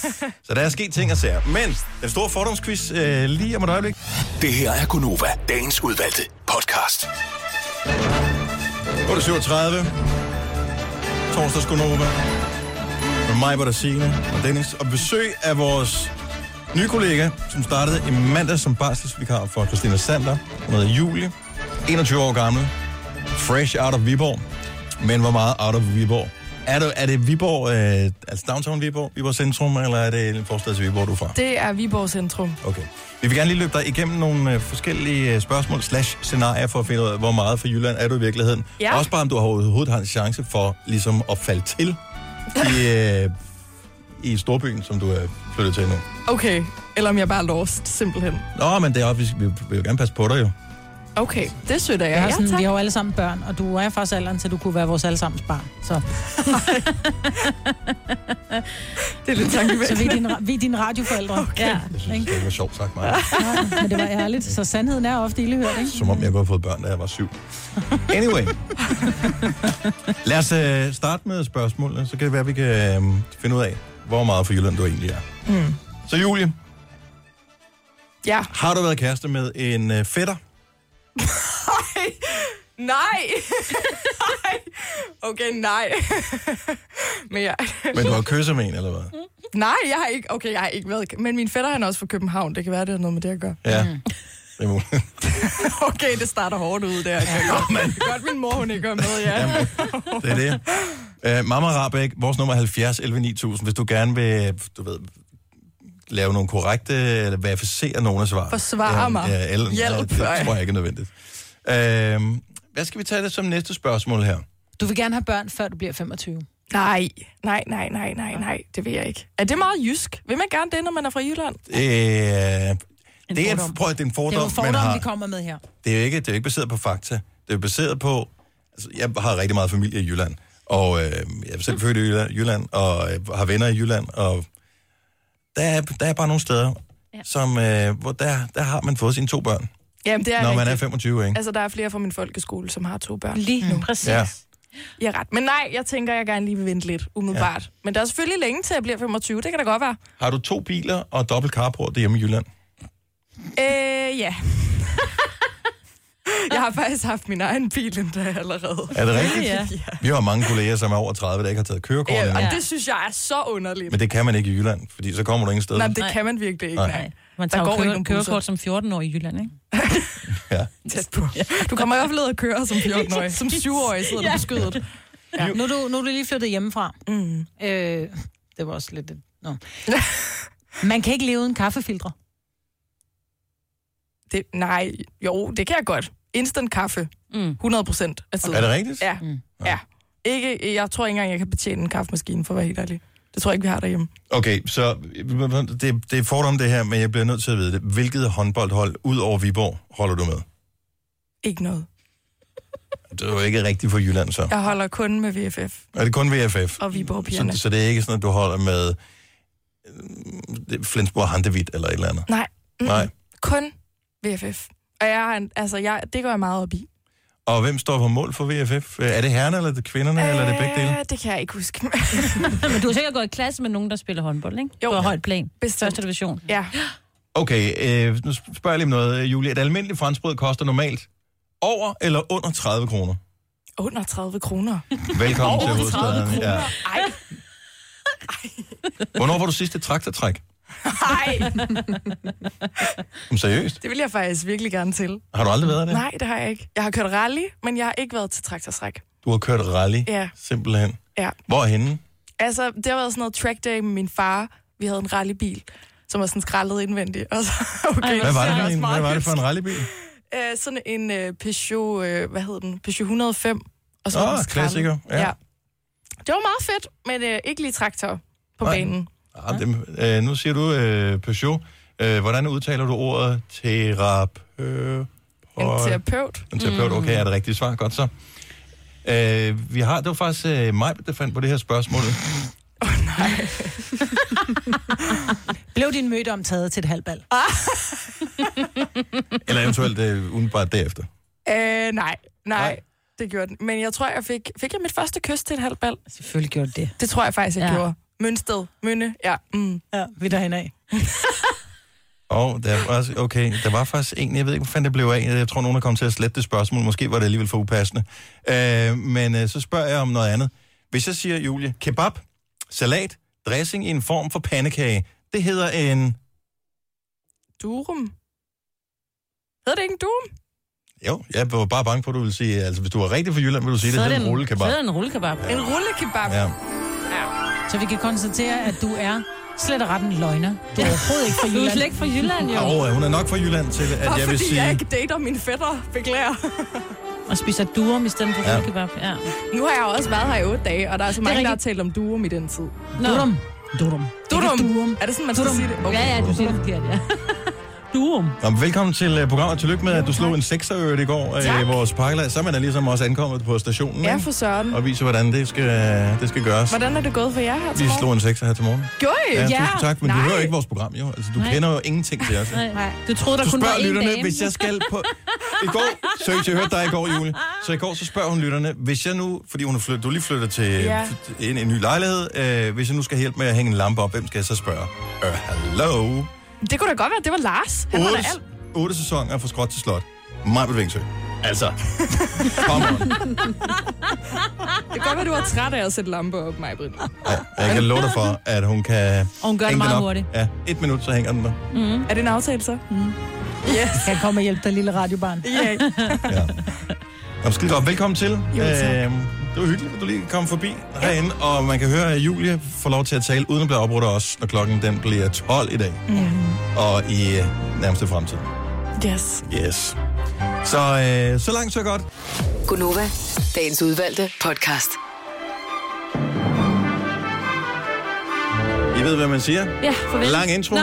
Så der er sket ting og sager. Men den store fordomsquiz øh, lige om et øjeblik.
Det her er Gunova, dagens udvalgte podcast.
8.37. Torsdags Gunova. Med mig, hvor der Signe og Dennis. Og besøg af vores nye kollega, som startede i mandag som barselsvikar for Christina Sander. Hun hedder Julie. 21 år gammel. Fresh out of Viborg. Men hvor meget out of Viborg? Er det, er det Viborg, øh, altså downtown Viborg, Viborg Centrum, eller er det en forstad til Viborg, du er fra?
Det er Viborg Centrum.
Okay. Vi vil gerne lige løbe dig igennem nogle øh, forskellige øh, spørgsmål slash scenarier for at finde ud af, hvor meget for Jylland er du i virkeligheden.
Ja.
Også bare, om du har overhovedet har en chance for ligesom at falde til i, øh, i storbyen, som du er flyttet til nu.
Okay, eller om jeg bare er lost, simpelthen.
Nå, men det er, op, vi, vi vil jo gerne passe på dig jo.
Okay, det synes
Jeg
jeg, ja,
har sådan,
tak.
vi har jo alle sammen børn, og du er faktisk alderen til, du kunne være vores allesammens barn. [LAUGHS] Så.
det er lidt
Så
tankevækkende.
vi er dine, ra- vi er dine radioforældre. Okay. Ja,
Jeg synes,
[LAUGHS] ikke?
det var sjovt sagt mig.
Ja, men det var ærligt. Så sandheden er ofte ildehørt, ikke?
Som om jeg kunne have fået børn, da jeg var syv. Anyway. Lad os øh, starte med spørgsmålene, så kan det være, at vi kan øh, finde ud af, hvor meget for Jylland du egentlig er.
Mm.
Så Julie,
Ja.
har du været kæreste med en øh, fætter?
Ej, nej. [LAUGHS] Ej. okay, nej. [LAUGHS] men jeg...
Men du har kysset med en, eller hvad?
Nej, jeg har ikke... Okay, jeg har ikke været... Men min fætter, han er også fra København. Det kan være, det har noget med det at [LAUGHS] gøre.
Ja. Mm. Det er muligt. [LAUGHS]
okay, det starter hårdt ud der. Ja, godt, godt, min mor, hun ikke er med, ja.
Det er det. Øh, Mama Rabeck, vores nummer er 70 11 9000, hvis du gerne vil, du ved, lave nogle korrekte, eller verificere nogle af svarene.
Forsvare
Ja,
mig.
Ja, eller,
Hjælp,
nej, det
nej.
tror jeg ikke er nødvendigt. Øh, hvad skal vi tage det som næste spørgsmål her?
Du vil gerne have børn, før du bliver 25.
Nej, nej, nej, nej, nej, nej. Det vil jeg ikke. Er det meget jysk? Vil man gerne det, når man er fra Jylland?
Øh, det, er,
fordom.
prøv, at- det er en fordom,
det er jo
man har.
fordomme, vi kommer med her.
det er jo ikke, det er jo ikke baseret på fakta. Det er baseret på... Altså, jeg har rigtig meget familie i Jylland, og øh, jeg er selv født i Jylland, Jylland og øh, har venner i Jylland, og der er, der er bare nogle steder, ja. som, øh, hvor der, der har man fået sine to børn,
Jamen, det er
når man
rigtigt.
er 25, ikke?
Altså, der er flere fra min folkeskole, som har to børn.
Lige nu. Præcis.
Ja.
I har ret. Men nej, jeg tænker, jeg gerne lige vil vente lidt, umiddelbart. Ja. Men der er selvfølgelig længe til, at jeg bliver 25. Det kan da godt være.
Har du to biler og dobbelt carport derhjemme i Jylland?
Øh, [LAUGHS] ja. jeg har faktisk haft min egen bil endda allerede.
Er det rigtigt?
Ja.
Vi har mange kolleger, som er over 30, der ikke har taget kørekort
ja.
endnu.
Øh, Og det synes jeg er så underligt.
Men det kan man ikke i Jylland, fordi så kommer du ingen steder.
Nej, men det kan man virkelig ikke.
Nej.
Nej.
Nej.
Man tager jo
ikke
køre,
nogen busser.
kørekort som 14-årig i Jylland, ikke?
Tæt på. Du kommer i hvert fald ud og køre som [LAUGHS] 14-årig. Som 7-årig sidder ja. du på skødet.
Ja. Nu, er du, nu er du lige flyttet hjemmefra. Mm. Øh, det var også lidt... et- Nå. [LAUGHS] Man kan ikke leve uden kaffefiltre.
Det, nej, jo, det kan jeg godt. Instant kaffe. Mm. 100 procent af tiden.
Er det rigtigt?
Ja. Mm. ja. Ikke, jeg tror ikke engang, jeg kan betjene en kaffemaskine, for at være helt ærlig. Det tror jeg ikke, vi har derhjemme.
Okay, så det, det er fordom det her, men jeg bliver nødt til at vide det. Hvilket håndboldhold, ud over Viborg, holder du med?
Ikke noget.
Det er jo ikke rigtigt for Jylland, så.
Jeg holder kun med VFF
Er det kun VFF?
og Viborg-pigerne.
Så, så det er ikke sådan, at du holder med øh, det- Flensborg Handewitt eller et eller andet?
Nej, mm,
Nej.
kun VFF. Og jeg, har en- altså, jeg, det går jeg meget op i.
Og hvem står på mål for VFF? Øh, Er det herrerne, eller er det kvinderne, øh... eller er det begge dele?
Ja, det kan jeg ikke huske. [LAUGHS]
Men du har sikkert gået i klasse med nogen, der spiller håndbold, ikke? Jo. På højt plan. Bestemt. Første division.
Ja.
Okay, øh, nu spørger jeg lige om noget, øh, Julie. Et almindeligt franskbrød koster normalt over eller under 30 kroner.
Under 30 kroner.
Velkommen til
Over 30
hovedstaden.
kroner.
Ja.
Ej,
Hvornår var du sidst et traktortræk?
ej.
[LAUGHS] Jamen, seriøst?
Det vil jeg faktisk virkelig gerne til.
Har du aldrig været det?
Nej, det har jeg ikke. Jeg har kørt rally, men jeg har ikke været til traktorstræk.
Du har kørt rally?
Ja.
Simpelthen.
Ja.
Hvorhenne?
Altså, det har været sådan noget track day med min far. Vi havde en rallybil, som var sådan skrællet indvendigt. [LAUGHS] Og så, okay,
Hvad var det,
så er
for
også
en,
meget
hvad var det for en
lyst.
rallybil?
Øh, sådan en øh, Peugeot, øh, hvad hed den? Peugeot 105. Og så
Åh,
var den skrællet.
klassiker, ja.
Det var meget fedt, men øh, ikke lige traktor på
Nej.
banen.
Ah, dem, øh, nu siger du øh, Peugeot. Øh, hvordan udtaler du ordet terapeut?
En terapeut. Mm.
En terapeut, okay, er det rigtige svar. Godt så. Øh, vi har, det var faktisk øh, mig, der fandt på det her
[LAUGHS]
spørgsmål.
Blev din mødom taget til et halvbal?
Eller eventuelt øh, udenbart derefter.
Øh, nej, nej, nej, det gjorde den. Men jeg tror, jeg fik, fik jeg mit første kys til en halv bal.
Selvfølgelig gjorde det.
Det tror jeg faktisk, jeg
Ja.
ja. gjorde. Mønsted, Mønne, ja. Mm.
Ja, vi der af.
Og der var, også- okay, der var faktisk en, jeg ved ikke, hvad fanden det blev af. Jeg tror, nogen er kommet til at slette det spørgsmål. Måske var det alligevel for upassende. Øh, men øh, så spørger jeg om noget andet. Hvis jeg siger, Julie, kebab, salat, dressing i en form for pandekage, det hedder en...
Durum. Hedder det ikke en durum?
Jo, jeg var bare bange på, at du ville sige... Altså, hvis du var rigtig for Jylland, ville du sige, det
Så er
hedder en
Så
rullekebab.
er det en rullekebab.
En rullekebab.
Ja.
Så vi kan konstatere, at du er slet og ret en løgner. Du er overhovedet ikke fra Jylland.
Du er slet ikke fra Jylland, jo.
Og hun er nok fra Jylland til, at
Bare
jeg vil
fordi
sige...
jeg ikke dater mine fætter, beklager.
Og spiser durum i stedet for
Ja.
ja. rullekebab. Ja.
Nu har jeg jo også været her i otte dage, og der er så
Det er
mange, der har
rigtigt.
talt om durum i den tid.
Nå.
Durum. Durum.
Durum. Er det sådan, man skal sige det?
Ja, ja, du siger det forkert, ja. Durum.
Nå, men velkommen til uh, programmet. Tillykke med, at du slog en sekserøret i går øh, i vores pakkelag. Så er man er ligesom også ankommet på stationen
Ja,
ikke?
for søren.
og viser, hvordan det skal, det skal gøres.
Hvordan er det gået for jer her til
Vi slog
morgen?
en sekser her til morgen.
Gjorde I?
Ja, tusind tak, men Nej. du
Nej.
hører ikke vores program, jo. Altså, du Nej.
Nej.
kender jo ingenting til os.
Nej. Du troede, der
Du
kun var
spørger
en
lytterne,
dame.
hvis jeg skal på... I går, seriøst, jeg hørte dig i går, Julie. Så i går, så spørger hun lytterne, hvis jeg nu, fordi hun er flyttet, du er lige flytter til
Ja.
ja. en, en, ny lejlighed, øh, hvis jeg nu skal hjælpe med at hænge en lampe op, hvem skal jeg så spørge? Øh, hello?
Det kunne da godt være, det var Lars. Han var der alt.
Otte, otte sæsoner fra skråt til slot. Majbel Vingsø. Altså, kom on.
Det kan godt være, du var træt af at sætte lamper op, mig, Britt.
Jeg kan love dig for, at hun kan...
Og hun gør det
hænge den
meget
op.
hurtigt.
Ja, et minut, så hænger den der.
Mm. Er det en aftale så? Mm. Yes.
Kan jeg komme og hjælpe dig, lille radiobarn?
Yeah.
Nå, skide godt. Velkommen til.
Jo, tak.
Øhm, Det var hyggeligt, at du lige kom forbi herinde, og man kan høre, at Julie får lov til at tale uden at blive afbrudt af os, når klokken den bliver 12 i dag, og i øh, nærmeste fremtid.
Yes.
Yes. Så, øh, så langt, så godt.
Gunova, dagens udvalgte podcast.
I ved, hvad man siger.
Ja, farvel.
Lang intro.
Nå.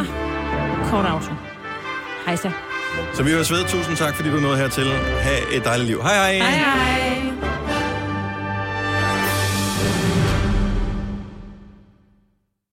Kort outro. Hej så.
Så vi høres ved. Tusind tak, fordi du nåede hertil. Ha' et dejligt liv. Hej hej.
Hej hej.